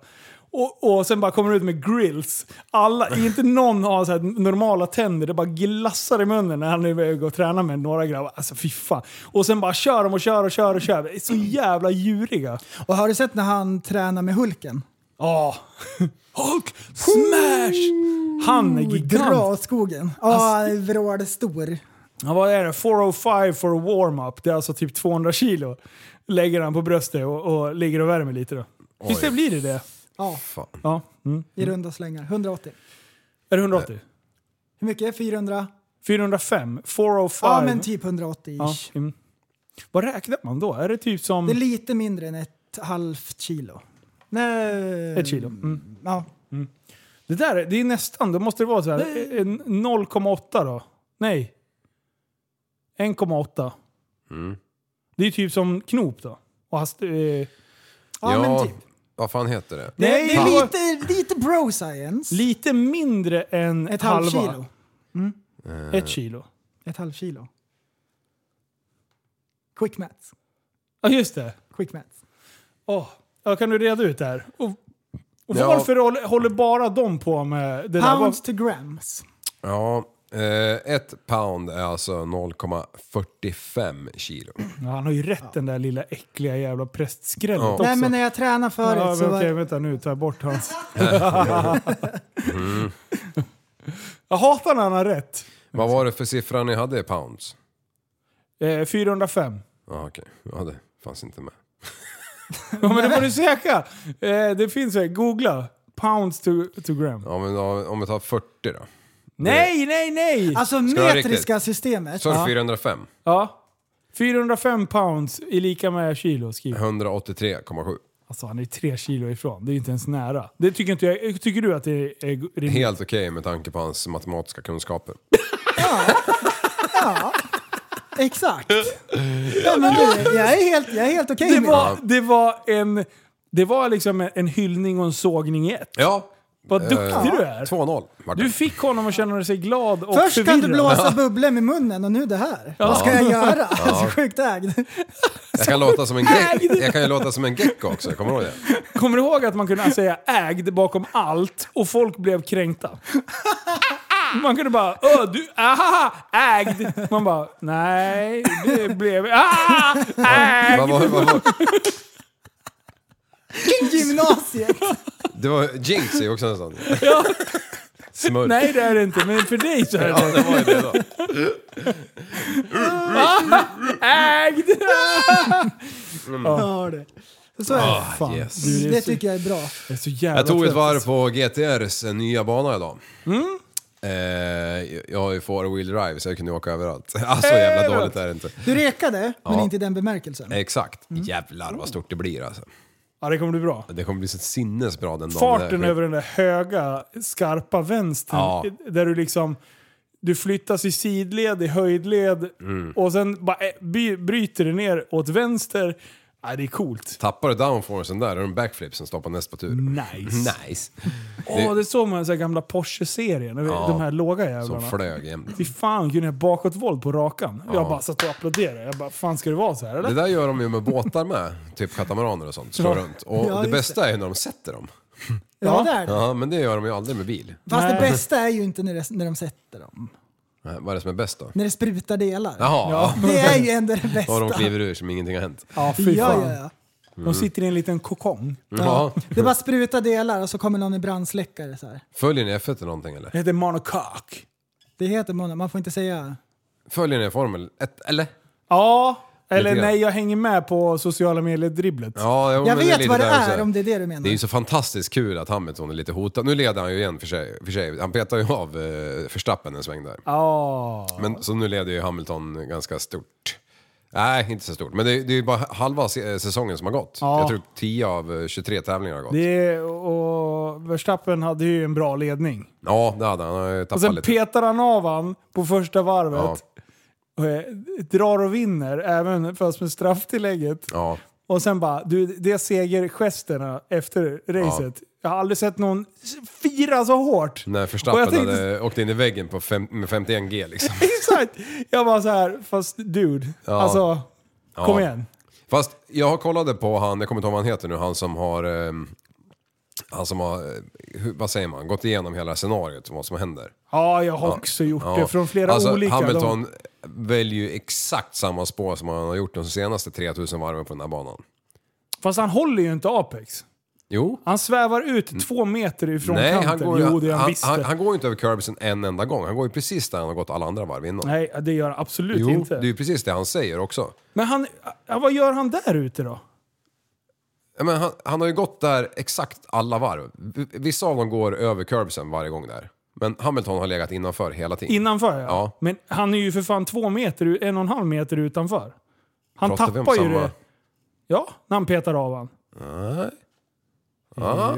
Och, och sen bara kommer de ut med grills. Alla, inte någon har så här normala tänder. Det bara glassar i munnen när han är iväg och tränar med några grabbar. Alltså fy fan. Och sen bara kör de och kör och kör och kör. Det är så jävla djuriga.
Och har du sett när han tränar med Hulken?
Ja. Hulk smash! Han är
Dra
gigant. Alltså,
åt skogen. Ja, vrål stor.
Ja, vad är det? 405 for a warm-up. Det är alltså typ 200 kilo. Lägger han på bröstet och, och ligger och värmer lite då. Visst det blir det det?
Ja,
Ja. Mm. Eh,
i runda slängar. 180.
Är det 180?
Hur mycket? 400?
405? 405?
Ja, men typ 180
Ja,
ish.
mm. Vad räknar man då? Är det typ som...
Det är lite mindre än ett halvt kilo. Nej.
Ett kilo. Mm.
Ja.
Det där är- det är nästan, då måste det vara så här. eh, 0,8 då? Nej. 1,8. Mm. Det är typ som knop då. Och hast, eh,
Ja, men typ.
vad fan heter det?
Det, det
fan.
är lite, lite bro science.
lite mindre än
ett
halva.
halvt kilo.
Ett kilo.
Ett halvt kilo. Quick maths.
Ja just det.
Quick maths.
Åh, Ja, kan du reda ut det här? Och, och
Ja.
varför håller, håller bara de på med det där?
Pounds to grams.
Ja, eh, ett pound är alltså 0,45 kilo.
Ja, han har ju rätt den där lilla äckliga jävla prästskrället
Ja.
också.
Nej men när jag tränade förut
Ja,
så
men
var
okej, vänta nu. Ta bort hans... Jag hatar när han har rätt.
Vad var det för siffra ni hade i pounds?
Eh, 405.
Ja, okej. Ja, det fanns inte med.
Ja, men det får du söka. Eh, det finns här. Googla. Pounds to, to gram.
Ja, men då, om vi tar 40 då.
Nej, nej, nej!
alltså
Ska jag
metriska
riktigt?
systemet.
Så är det 405.
Ja. 405 pounds är lika med kilo skriver
183,7.
Alltså han är tre kilo ifrån. Det är inte ens nära. Det tycker, inte jag, tycker du att det är, är rimligt?
Helt okej med tanke på hans matematiska kunskaper.
Exakt. ja, men du, jag är helt, jag är helt okej
Det
med det.
var, det var en... Det var liksom en, en hyllning och en sågning i ett.
Ja,
Vad duktig
Eh,
du är!
2-0. vart det.
Du fick honom att känna sig glad och
Först kan
förvirrad.
du blåsa bubblor med munnen och nu det här. Vad ska jag göra? Jag är så sjukt ägd.
Jag kan låta som en gecko. Jag kan ju låta som en gecko också, kommer du ihåg det?
Kommer du ihåg att man kunde säga ägd bakom allt och folk blev kränkta? Man kunde bara Åh, du, ahaha, ägd. Man bara nej, det blev ah, ägd.
Vad var, vad var,
Gymnasiet.
det var Jinx är ju också en sån.
Ja,
Smurf.
nej det är det inte, men för dig så är
Ja,
det
det var ju det då.
ägd.
Ja, det. Så är det.
Fan,
yes.
du, det, är
Det
så,
tycker jag är bra.
jag är så jävla
Jag tog ett
trött.
varv på GTRs nya bana idag. Mm. Eh, jag har ju four wheel drive så jag kunde åka överallt. Alltså jävla dåligt är det inte.
Du rekade, men
Ja.
inte i den bemärkelsen.
Exakt. Jävlar vad stort det blir alltså.
Ja, det kommer bli bra.
Det kommer bli så sinnesbra den dagen.
Farten
det där sker.
över den där höga, skarpa vänstern.
Ja.
Där du liksom... Du flyttas i
Mm.
sidled, i höjdled och sen bara eh, by, bryter det ner åt vänster. Nej, det är coolt.
Tappar du downforcen där, då är det en backflip som stoppar nästa tur.
Nice.
Nice.
Åh, det såg man i så här gamla Porsche-serien. De här låga jävlarna.
Som flög jämt.
Fy fan, kunde jag bakåtvolt på rakan? Jag bara satt och applåderade. Jag bara, fan ska det vara så här eller?
Det där gör de ju med båtar med, typ katamaraner och sånt. Slår
Ja.
runt. Och
Ja,
det
just
bästa är ju när de sätter dem.
Ja, det är det.
Ja, men det gör de ju aldrig med bil.
Fast det
Nej.
bästa är ju inte när, det, när de sätter dem.
Nej, Eh, Vad är det som är bäst då?
När det sprutar delar.
Jaha, ja.
Det är ju ändå det bästa.
och de kliver ur som ingenting har hänt.
Ja, fy
Ja,
fan.
ja, ja.
De sitter i en liten kokong.
Ja.
Det bara sprutar delar och så kommer någon i brandsläckare så här.
Följer ni F1 eller någonting eller?
Det heter monocoque.
Det heter man, man får inte säga.
Följer ni Formel 1 eller?
Ja, eller
Lite grann.
nej, jag hänger med på sociala medier-dribblet.
Ja, jo,
Jag
men det
vet
lite
vad det
där så
är
här.
om det är det du menar.
Det är ju så fantastiskt kul att Hamilton är lite hotad. Nu leder han ju igen för sig. För sig. Han petar ju av eh, Verstappen en sväng där.
Ja.
Men, så nu leder ju Hamilton ganska stort. Nej, inte så stort. Men det, är- det är ju bara halva se- säsongen som har gått.
Ja.
Jag tror 10 av eh, 23 tävlingar har gått.
Det är, och Verstappen hade ju en bra ledning.
Ja, det hade han. Han har ju
Och
tappat
sen
lite.
petar han av han på första
Ja,
varvet. Och, eh, drar och vinner, även fast med strafftillägget.
ja.
Och sen bara, du, det är segergesterna efter racet. Jag har aldrig sett någon fira så hårt.
När
Och
Verstappen
jag tänkte-
hade åkt in i väggen på fem, med 51G liksom.
Exakt! Jag bara så här, fast dude,
Ja.
alltså
Ja.
kom igen.
Fast jag har kollade på han, jag kommer inte ihåg vad han heter nu, han som har... ehm, han som har, eh, hur- vad säger man, gått igenom hela scenariot, vad som händer.
Ja, jag har också gjort det från flera
alltså,
olika.
Hamilton väljer ju exakt samma spår som han har gjort de senaste 3000 varven på den här banan.
Fast han håller ju inte Apex.
Jo.
Han svävar ut två meter ifrån
Mm. Nej,
kanten.
han går, ju,
jo, det gör han,
han,
visst.
han, han går ju inte över curbsen en enda gång. Han går ju precis där han har gått alla andra varv innan.
Nej, det gör han absolut
jo,
inte.
det är ju precis det han säger också.
Men han, ja, vad gör han där ute då?
Ja, Men han, han har ju gått där exakt alla varv. V- Vissa av dem går över curbsen varje gång där. Men Hamilton har legat innanför hela tiden.
Innanför ja.
Ja.
Men han är ju för fan två meter, en och en halv meter utanför. Han
Pratar vi om
tappar ju
samma?
det. Ja, när han petar av han.
Ah.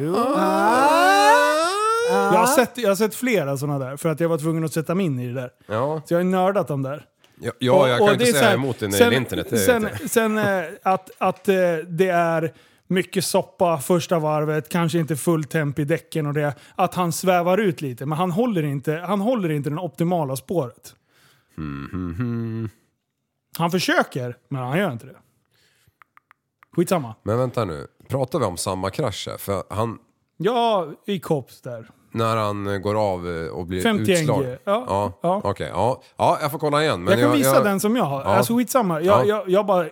Jag har, sett, jag har sett flera sådana där, för att jag var tvungen att sätta mig in i det där.
Ja,
Så jag har ju nördat dem där.
ja, ja jag kan
Och
inte
det är
säga
så här,
emot det när det
sen-
gäller internet. Det
sen
vet jag.
sen eh, att, att eh, det är mycket soppa första varvet, kanske inte full temp i däcken och det. Att han svävar ut lite, men han håller inte, han håller inte det optimala spåret. Han försöker, men han gör inte det. Skitsamma.
Men vänta nu, pratar vi om samma krasch här? För han,
Ja, i kops där.
när han eh, går av eh, och blir
51 G,
utslagen?
ja,
ja.
ja.
Okej, ja. ja, jag får kolla igen. Men
jag kan visa den som jag har.
Ja.
Alltså skitsamma. Jag,
Ja.
jag, jag, bara,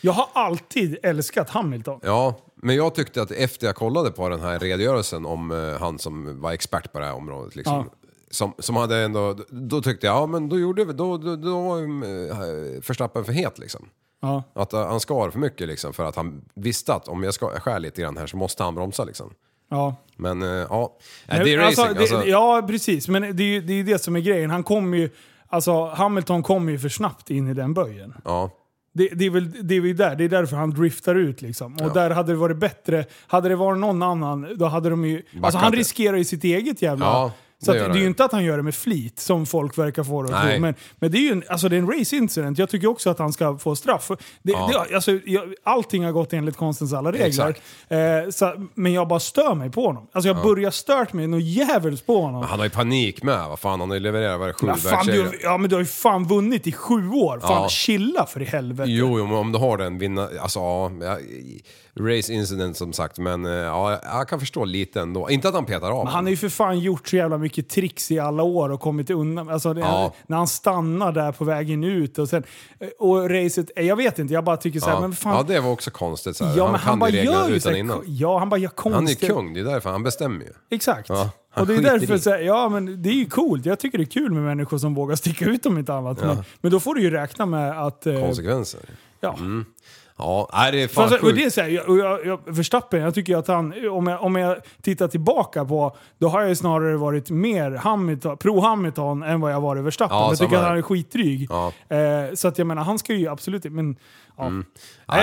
jag har alltid älskat Hamilton.
Ja, men jag tyckte att efter jag kollade på den här redogörelsen om eh, han som var expert på det här området liksom.
Ja.
Som, som hade ändå, då tyckte jag, ja men då gjorde vi, då, då, då var eh, Verstappen för het liksom.
Ja.
Att eh, han skar för mycket liksom för att han visste att om jag, ska, jag skär lite grann här så måste han bromsa liksom.
Ja.
Men eh, ja, Nej,
Nej,
det är
alltså,
racing alltså.
Det, ja, precis. Men det är ju det, är ju det som är grejen. Han kom ju, alltså, Hamilton kom ju för snabbt in i den böjen.
Ja,
Det, det, är väl, det är väl där. Det är därför han driftar ut liksom. Och där hade det varit bättre. Hade det varit någon annan, då hade de ju... Alltså han
det.
riskerar ju sitt eget jävla...
Ja,
så
det
att,
gör
det
han
är ju
ju.
inte att han gör det med flit, som folk verkar få det att
Nej.
tro. Men, men det är ju en, alltså, det är en race incident. Jag tycker också att han ska få straff. Det, det, alltså, jag, allting har gått enligt konstens alla regler.
Exakt.
Eh, så, men jag bara stör mig på honom. Alltså jag börjar stört mig något djävulskt på honom.
han har ju panik med, vad fan han har ju levererat, vad är det, sju
Ja, fan,
världssegrar?
du, ja, men du har ju fan vunnit i sju år. Fan,
Ja.
chilla för i helvete.
Jo, jo, men om du har den vinna... Alltså ja, ja, race incident som sagt, men eh, ja, jag kan förstå lite ändå. Inte att han petar av.
Men Han har ju för fan gjort så jävla mycket tricks i alla år och kommit undan. Alltså, det,
Ja.
När han stannar där på vägen ut och sen... Och racet, eh, jag vet inte, jag bara tycker så här,
ja.
men fan...
ja, det var också konstigt så här.
ja,
han
men
kan
han bara
ju reglerna
gör ju så
utan
här, ko-
innan.
Ja, han bara gör
Han är ju
konstiga...
kung, det är därför. Han bestämmer ju.
Exakt.
Ja, han
och det är
skiter
därför
i.
så här, ja men det är ju coolt. Jag tycker det är kul med människor som vågar sticka ut om inte annat. Men, men då får du ju räkna med att... eh,
Konsekvenser.
ja.
Ja, nej, det är fan
Fast, och
sjukt.
det är så här, jag, och jag, jag, Verstappen, jag tycker ju att han, om jag, om jag tittar tillbaka på, då har jag ju snarare varit mer Hamilton, pro-Hamilton än vad jag varit Verstappen.
Ja,
jag tycker
samma
att
här.
han är skitdryg.
Ja. Mm.
Eh, så att jag menar, han ska ju absolut inte- men ja.
Ja,
Nej,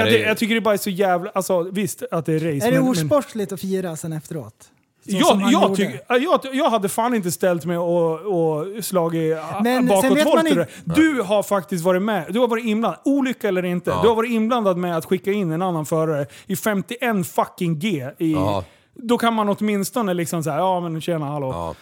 det
jag,
är-
jag tycker det bara är så jävla, alltså visst att det är race.
är det
men, men,
osportsligt att fira sen efteråt? Så som
Jag,
han
jag,
gjorde.
tycker- jag, jag hade fan inte ställt mig och, och slagit
Men
Men
sen vet
bakåt
man
volter.
inte-
Du har faktiskt varit med. Du har varit inblandad. Olycka eller inte. Du har varit inblandad med att skicka in en annan förare i 51 fucking G. I,
Ja.
Då kan man åtminstone liksom såhär, ja men tjena hallå.
Ja.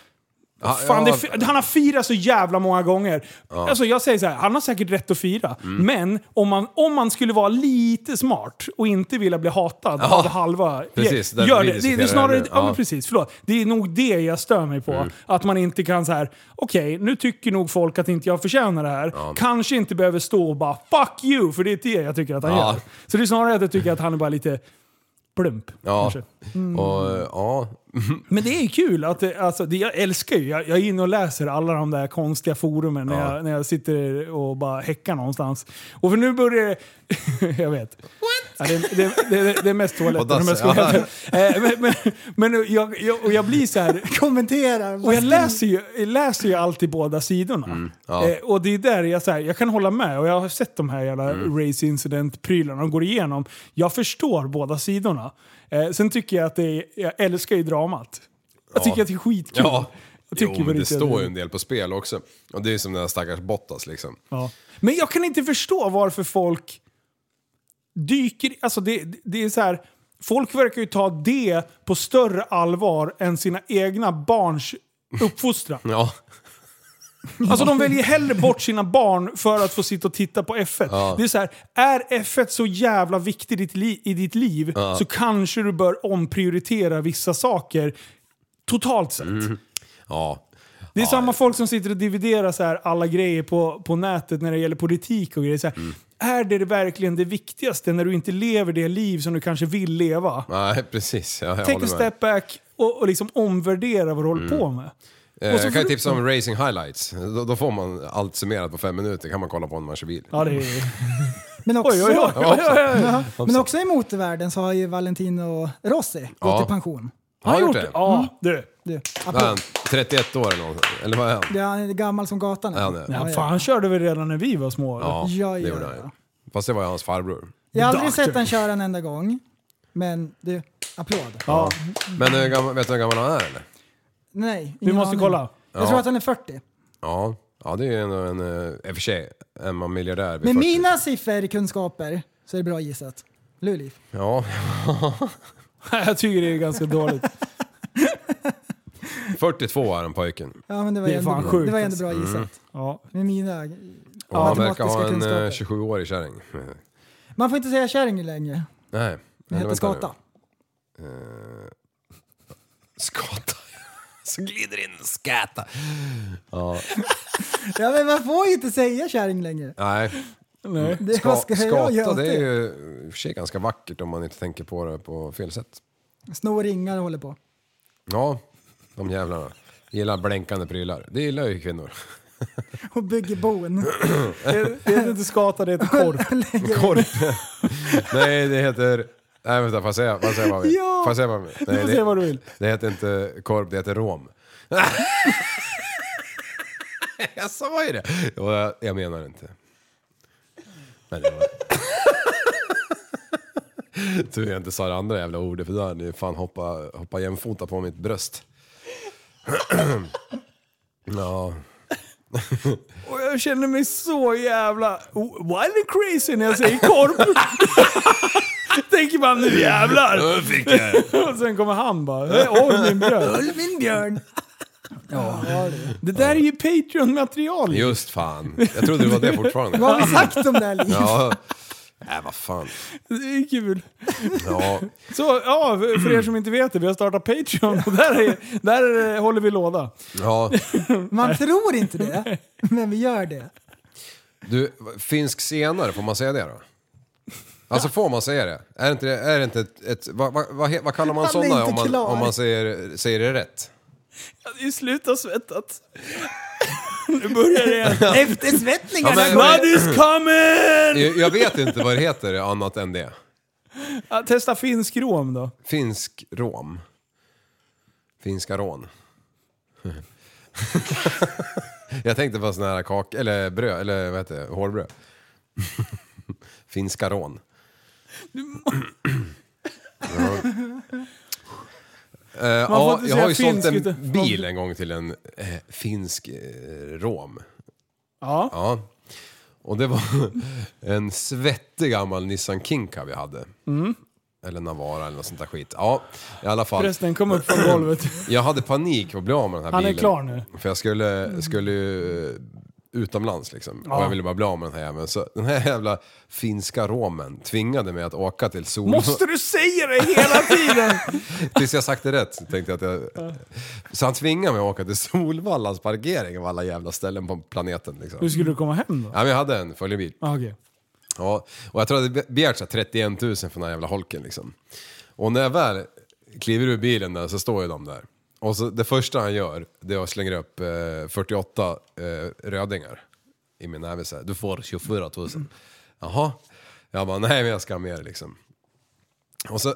Ja,
Fan,
ja,
det, fi- han har firat så jävla många gånger. Alltså jag säger så här, han har säkert rätt att fira.
Mm.
Men om man, om man skulle vara lite smart och inte vilja bli hatad
Ja.
av halva...
Precis,
gör
därför
det.
vi
Det, det,
diskuterar
är snarare,
det
ja.
nu. Ja. Mm.
men precis, förlåt. Det är nog det jag stör mig på. Att man inte kan så här. okej nu tycker nog folk att inte jag förtjänar det här. Kanske inte behöver stå och bara 'fuck you' för det är det jag tycker att han
Ja.
gör. Så det är snarare att jag tycker att han är bara lite plump.
Ja.
kanske.
Och, ja.
Men det är ju kul. Att det, alltså, det, jag älskar ju, jag, jag är inne och läser alla de där konstiga forumen när, jag, när jag sitter och bara häckar någonstans. Och för nu börjar det... jag vet. Ja, det, det, det, det är mest
Och
toaletter.
dass-
om jag ska vara ärlig. Eh, Men, men, men jag, jag, och jag blir så här...
Kommenterar.
Och
vad
jag
skri-
läser ju, jag läser ju alltid båda sidorna.
Mm, ja.
Eh, och det är där jag, så här, jag kan hålla med. Och jag har sett de här jävla
Mm.
race incident-prylarna de går igenom. Jag förstår båda sidorna. Eh, sen tycker jag att det är, jag älskar ju dramat. Jag tycker att det är skitkul.
Ja.
Jag tycker
Jo, men det
riktigt
står ju
att-
en del på spel också. Och det är ju som den där stackars Bottas liksom.
Ja. Men jag kan inte förstå varför folk dyker... Alltså det, det är så här, folk verkar ju ta det på större allvar än sina egna barns uppfostran.
Ja.
Alltså de väljer hellre bort sina barn för att få sitta och titta på F1. Det är så här, är F1 så jävla viktig i ditt, li- i ditt liv så kanske du bör omprioritera vissa saker totalt sett.
Mm. Ja.
Det är samma folk som sitter och dividerar så här alla grejer på, på nätet när det gäller politik och grejer. Så här,
Mm.
Är det verkligen det viktigaste när du inte lever det liv som du kanske vill leva?
Nej, precis. Ja, jag
Take
håller med.
a step back och, och liksom omvärdera vad du håller på med.
Eh,
Och så
Jag kan
får-
ju tipsa om Racing Highlights. Då, då får man allt summerat på fem minuter. kan man kolla på när man kör bil.
Ja, det är...
Men också,
Oj, oj, oj. oj, oj, oj.
Men också i motorvärlden så har ju Valentino Rossi
Ja.
gått i pension.
Har han gjort det?
Ja, du.
Du,
Vad är
applåd.
han? 31 år eller något. Eller vad är han?
Det är- Han är gammal som gatan.
Ja, han är.
Ja, fan, han körde väl redan när vi var små? eller?
Ja,
Ja,
det
ja,
gjorde
ja.
han ju. Fast det var ju hans farbror.
Jag har aldrig
Doctor.
sett han köra en enda gång. Men du, applåd.
Ja.
Men hur gammal, vet du hur gammal han är eller?
Nej, ingen
Vi måste
aning.
kolla.
Jag
Ja.
tror att han är 40.
Ja, ja det är ju ändå en... eh, I och för sig, är man miljardär vid
Med
40.
mina sifferkunskaper så är det bra gissat. Luleå.
Ja,
Jag tycker det är ganska dåligt.
42 är han pojken.
Ja, men det var
Det är
ändå,
fan
bra.
sjukt, alltså.
det var ändå bra
Mm.
gissat.
Ja.
Med mina
Och han verkar
matematiska
ha en eh,
kunskaper.
27-årig kärring. Eh,
Man får inte säga kärring längre.
Nej.
Den heter skata.
Eh, Skata. Så glider in en skata. Ja,
Ja, men man får ju inte säga kärring längre.
nej.
Nej.
Det,
Ska,
vad ska jag göra
skata
åt
det
det?
är ju i och för sig ganska vackert om man inte tänker på det på fel sätt.
Snor ringar och håller på.
Ja, de jävlarna. Gillar blänkande prylar. Det gillar ju kvinnor.
Och bygger bon.
Det heter inte skata, det heter korp.
Korp. Nej, det heter... Nej vänta, får jag säga, får jag säga vad jag vill?
Ja.
Får jag säga vad jag vill? Nej,
får
det-
säga vad du vill.
Det heter inte korp, det heter rom. jag sa ju det! Och jag, jag menar det inte. Men det var... Tur jag inte sa det andra jävla ordet för då hade ni fan hoppa, hoppa jämfota på mitt bröst. ja,
Och jag känner mig så jävla o- wild and crazy när jag säger korp. Tänker man nu jävlar!
nu fick jag
Och sen kommer han bara. "Hej, Oj min bröd.
Min björn!
Det där är ju Patreon-material.
Just fan. Jag trodde det var det fortfarande.
Vad har vi sagt om det här livet?
Ja. Äh, vad fan.
Det är kul.
Ja.
Så ja, för för er som inte vet det, vi har startat Patreon och där, är, där eh, håller vi låda.
ja.
Man tror inte det, men vi gör det.
Du, finsk senare, får man säga det då? Alltså får man säga det? Är det inte, det- är det inte ett... ett vad, vad, vad, he- vad kallar man
Han är
sådana
inte
om man,
klar.
om man säger, säger det rätt?
Jag hade ju slutat svettas. Nu börjar det igen.
Ja, men,
God is coming!
jag, jag vet inte vad det heter annat än det.
Ja, testa finsk rom då.
Finsk rom. Finska rån. jag tänkte på sån här kak... Eller bröd, eller vad heter det? Hårbröd. Finska rån. Ja. Eh,
får
ja,
inte
jag
säga
har ju sålt
finsk
en
utan-
bil en gång till en eh, finsk eh, rom.
Ja.
Ja. Och det var en svettig gammal Nissan Kinka vi hade.
Mm.
Eller Navara eller något sånt där skit. Ja, i alla fall.
Förresten, kom upp från golvet.
Jag hade panik att bli av med den här
Han är
bilen.
klar nu. Mm.
För jag skulle, skulle ju eh, utomlands liksom. Och jag ville bara bli av med den här jäveln. Så den här jävla finska romen tvingade mig att åka till Sol...
Måste du säga det hela tiden?
Tills jag sagt det rätt så tänkte jag att jag... Så han tvingade mig att åka till Solvallas parkering av alla jävla ställen på planeten liksom.
Hur skulle du komma hem då?
Ja, men jag hade en följebil.
Ah, Okej.
Ja, och jag tror att jag hade begärt så här 31 000 för den här jävla holken liksom. Och när jag väl kliver ur bilen där så står ju de där. Och så det första han gör, det är att slänga upp eh, 48 eh, rödingar i min näve så här, Du får 24 000. Jaha? Jag bara, nej men jag ska ha mer liksom. Och så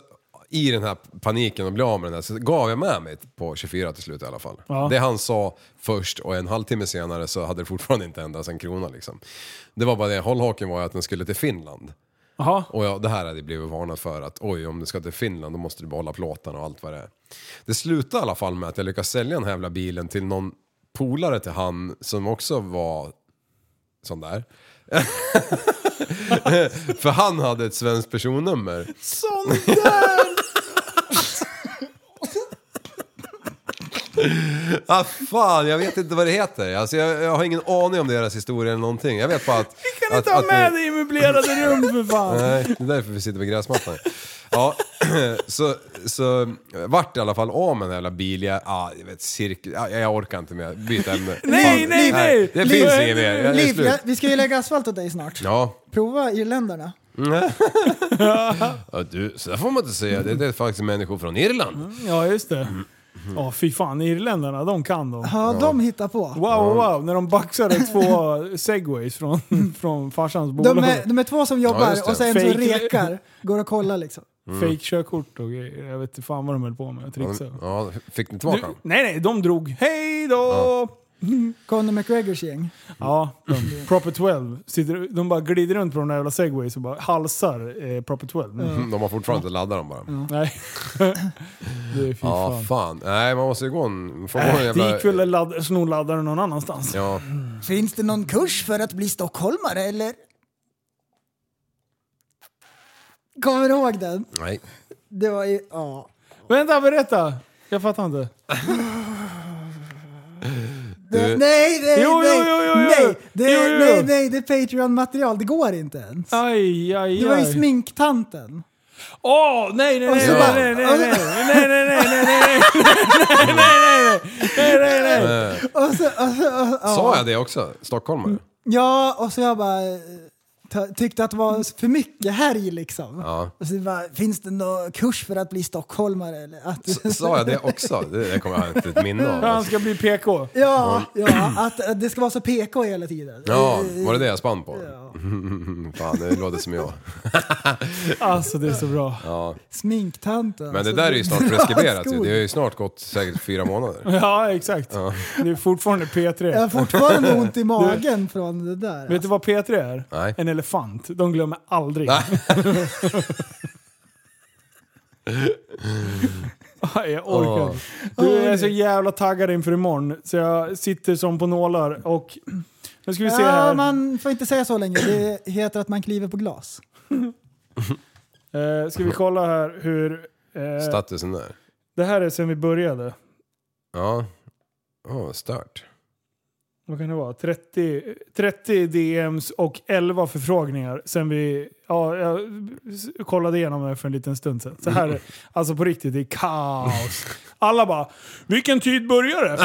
i den här paniken och bli av med den där så gav jag med mig på 24 till slut i alla fall.
Ja.
Det han sa först och en halvtimme senare så hade det fortfarande inte ändrats en krona liksom. Det var bara det, hållhaken var ju att den skulle till Finland.
Jaha.
Och ja, det här hade jag blivit varnad för att oj, om du ska till Finland då måste du behålla plåtarna och allt vad det är. Det slutade i alla fall med att jag lyckades sälja den här jävla bilen till någon polare till han som också var sån där. för han hade ett svenskt personnummer.
Sånt där!
Ah, fan, jag vet inte vad det heter. Alltså, jag, jag har ingen aning om deras historia eller någonting. Jag vet bara att...
Kan du inte ha med dig i möblerade rum för fan?
Nej, det är därför vi sitter på gräsmattan. Ja, så, så vart i alla fall av med den jävla bilen. Jag, ah, jag, vet, cirkel, ah, jag orkar inte mer. Byt ämne.
Nej,
Fan,
nej, nej.
Det
Liv-
finns inget mer. Jag är
Liv,
slut.
jag, vi ska ju lägga asfalt åt dig snart.
Ja.
Prova irländarna.
ja, du, så där får man inte säga. Det, det är faktiskt människor från Irland.
Ja, just det. Ja, fy fan. Irländarna, de kan de.
Ja, de hittar på.
Wow, wow, när de baxade två segways från, från farsans bolag.
De är, de är två som jobbar
Ja, just det.
och sen så
Fake-
rekar. Går och kollar liksom.
Fake körkort och grejer. Jag vet inte fan vad de höll på med. Trixa.
Ja, fick ni
Du,
tillbaka dem?
nej, nej, de drog. Hej då!
Conor McGregors gäng.
Ja, de, Proper 12. Sitter, de bara glider runt på de där jävla segways och bara halsar eh, Proper 12.
De har fortfarande inte laddat dem bara.
Nej. det är fy
Ja,
Mm, fan.
fan. Nej, man måste ju gå en... man Får gå en
Äh, det
jävla...
gick väl att ladda- snorladda den någon annanstans.
Ja.
Finns det någon kurs för att bli stockholmare eller? Kommer du ihåg den?
Nej.
Det var ju... Ja.
Vänta, berätta! Jag fattar inte.
Det, nej, nej,
Jo,
nej,
jo, jo, jo, jo.
nej, det,
Jo, jo, jo.
nej, nej, det är Patreon-material, det går inte ens.
Aj, aj,
Det var ju
aj.
sminktanten.
Åh, nej, nej,
Och
nej,
så
bara-
nej, nej, nej, nej, nej, nej, nej, nej, nej, nej, nej, nej, nej.
Och så, och så, och,
Sa jag det också? Stockholmare?
ja, och så jag bara eh, ta- tyckte att det var för mycket härj liksom.
Ja.
Och så bara, finns det någon kurs för att bli stockholmare? Eller att,
S- Sa jag det också? Det, det kommer jag inte ett minne av.
Han
Alltså.
ska bli PK.
ja, ja, att, att det ska vara så PK hela tiden.
Ja, var det det jag spann på? Fan, det låter som jag.
Alltså det är så bra.
Sminktanten.
Men det
alltså,
där är ju snart
bra
preskriberat ju.
skog.
Det har ju snart gått säkert fyra månader.
Ja, exakt. Det är fortfarande P3.
Jag har fortfarande ont i magen från det där.
Vet du vad P3 är?
Nej.
En elefant. De glömmer aldrig.
Nej.
Aj, jag orkar inte. Du, jag är så jävla taggad inför imorgon så jag sitter som på nålar och... Nu ska vi se
ja,
här.
man får inte säga så länge. Det heter att man kliver på glas.
Eh, ska vi kolla här hur... Eh,
Statusen där.
det här är sen vi började.
Ja. Åh, oh, stört.
Vad kan det vara? 30, 30 DMs och 11 förfrågningar sen vi... Ja, jag s- kollade igenom det för en liten stund sedan. Så här, är- alltså på riktigt, det är kaos. Alla bara “Vilken tid börjar det?”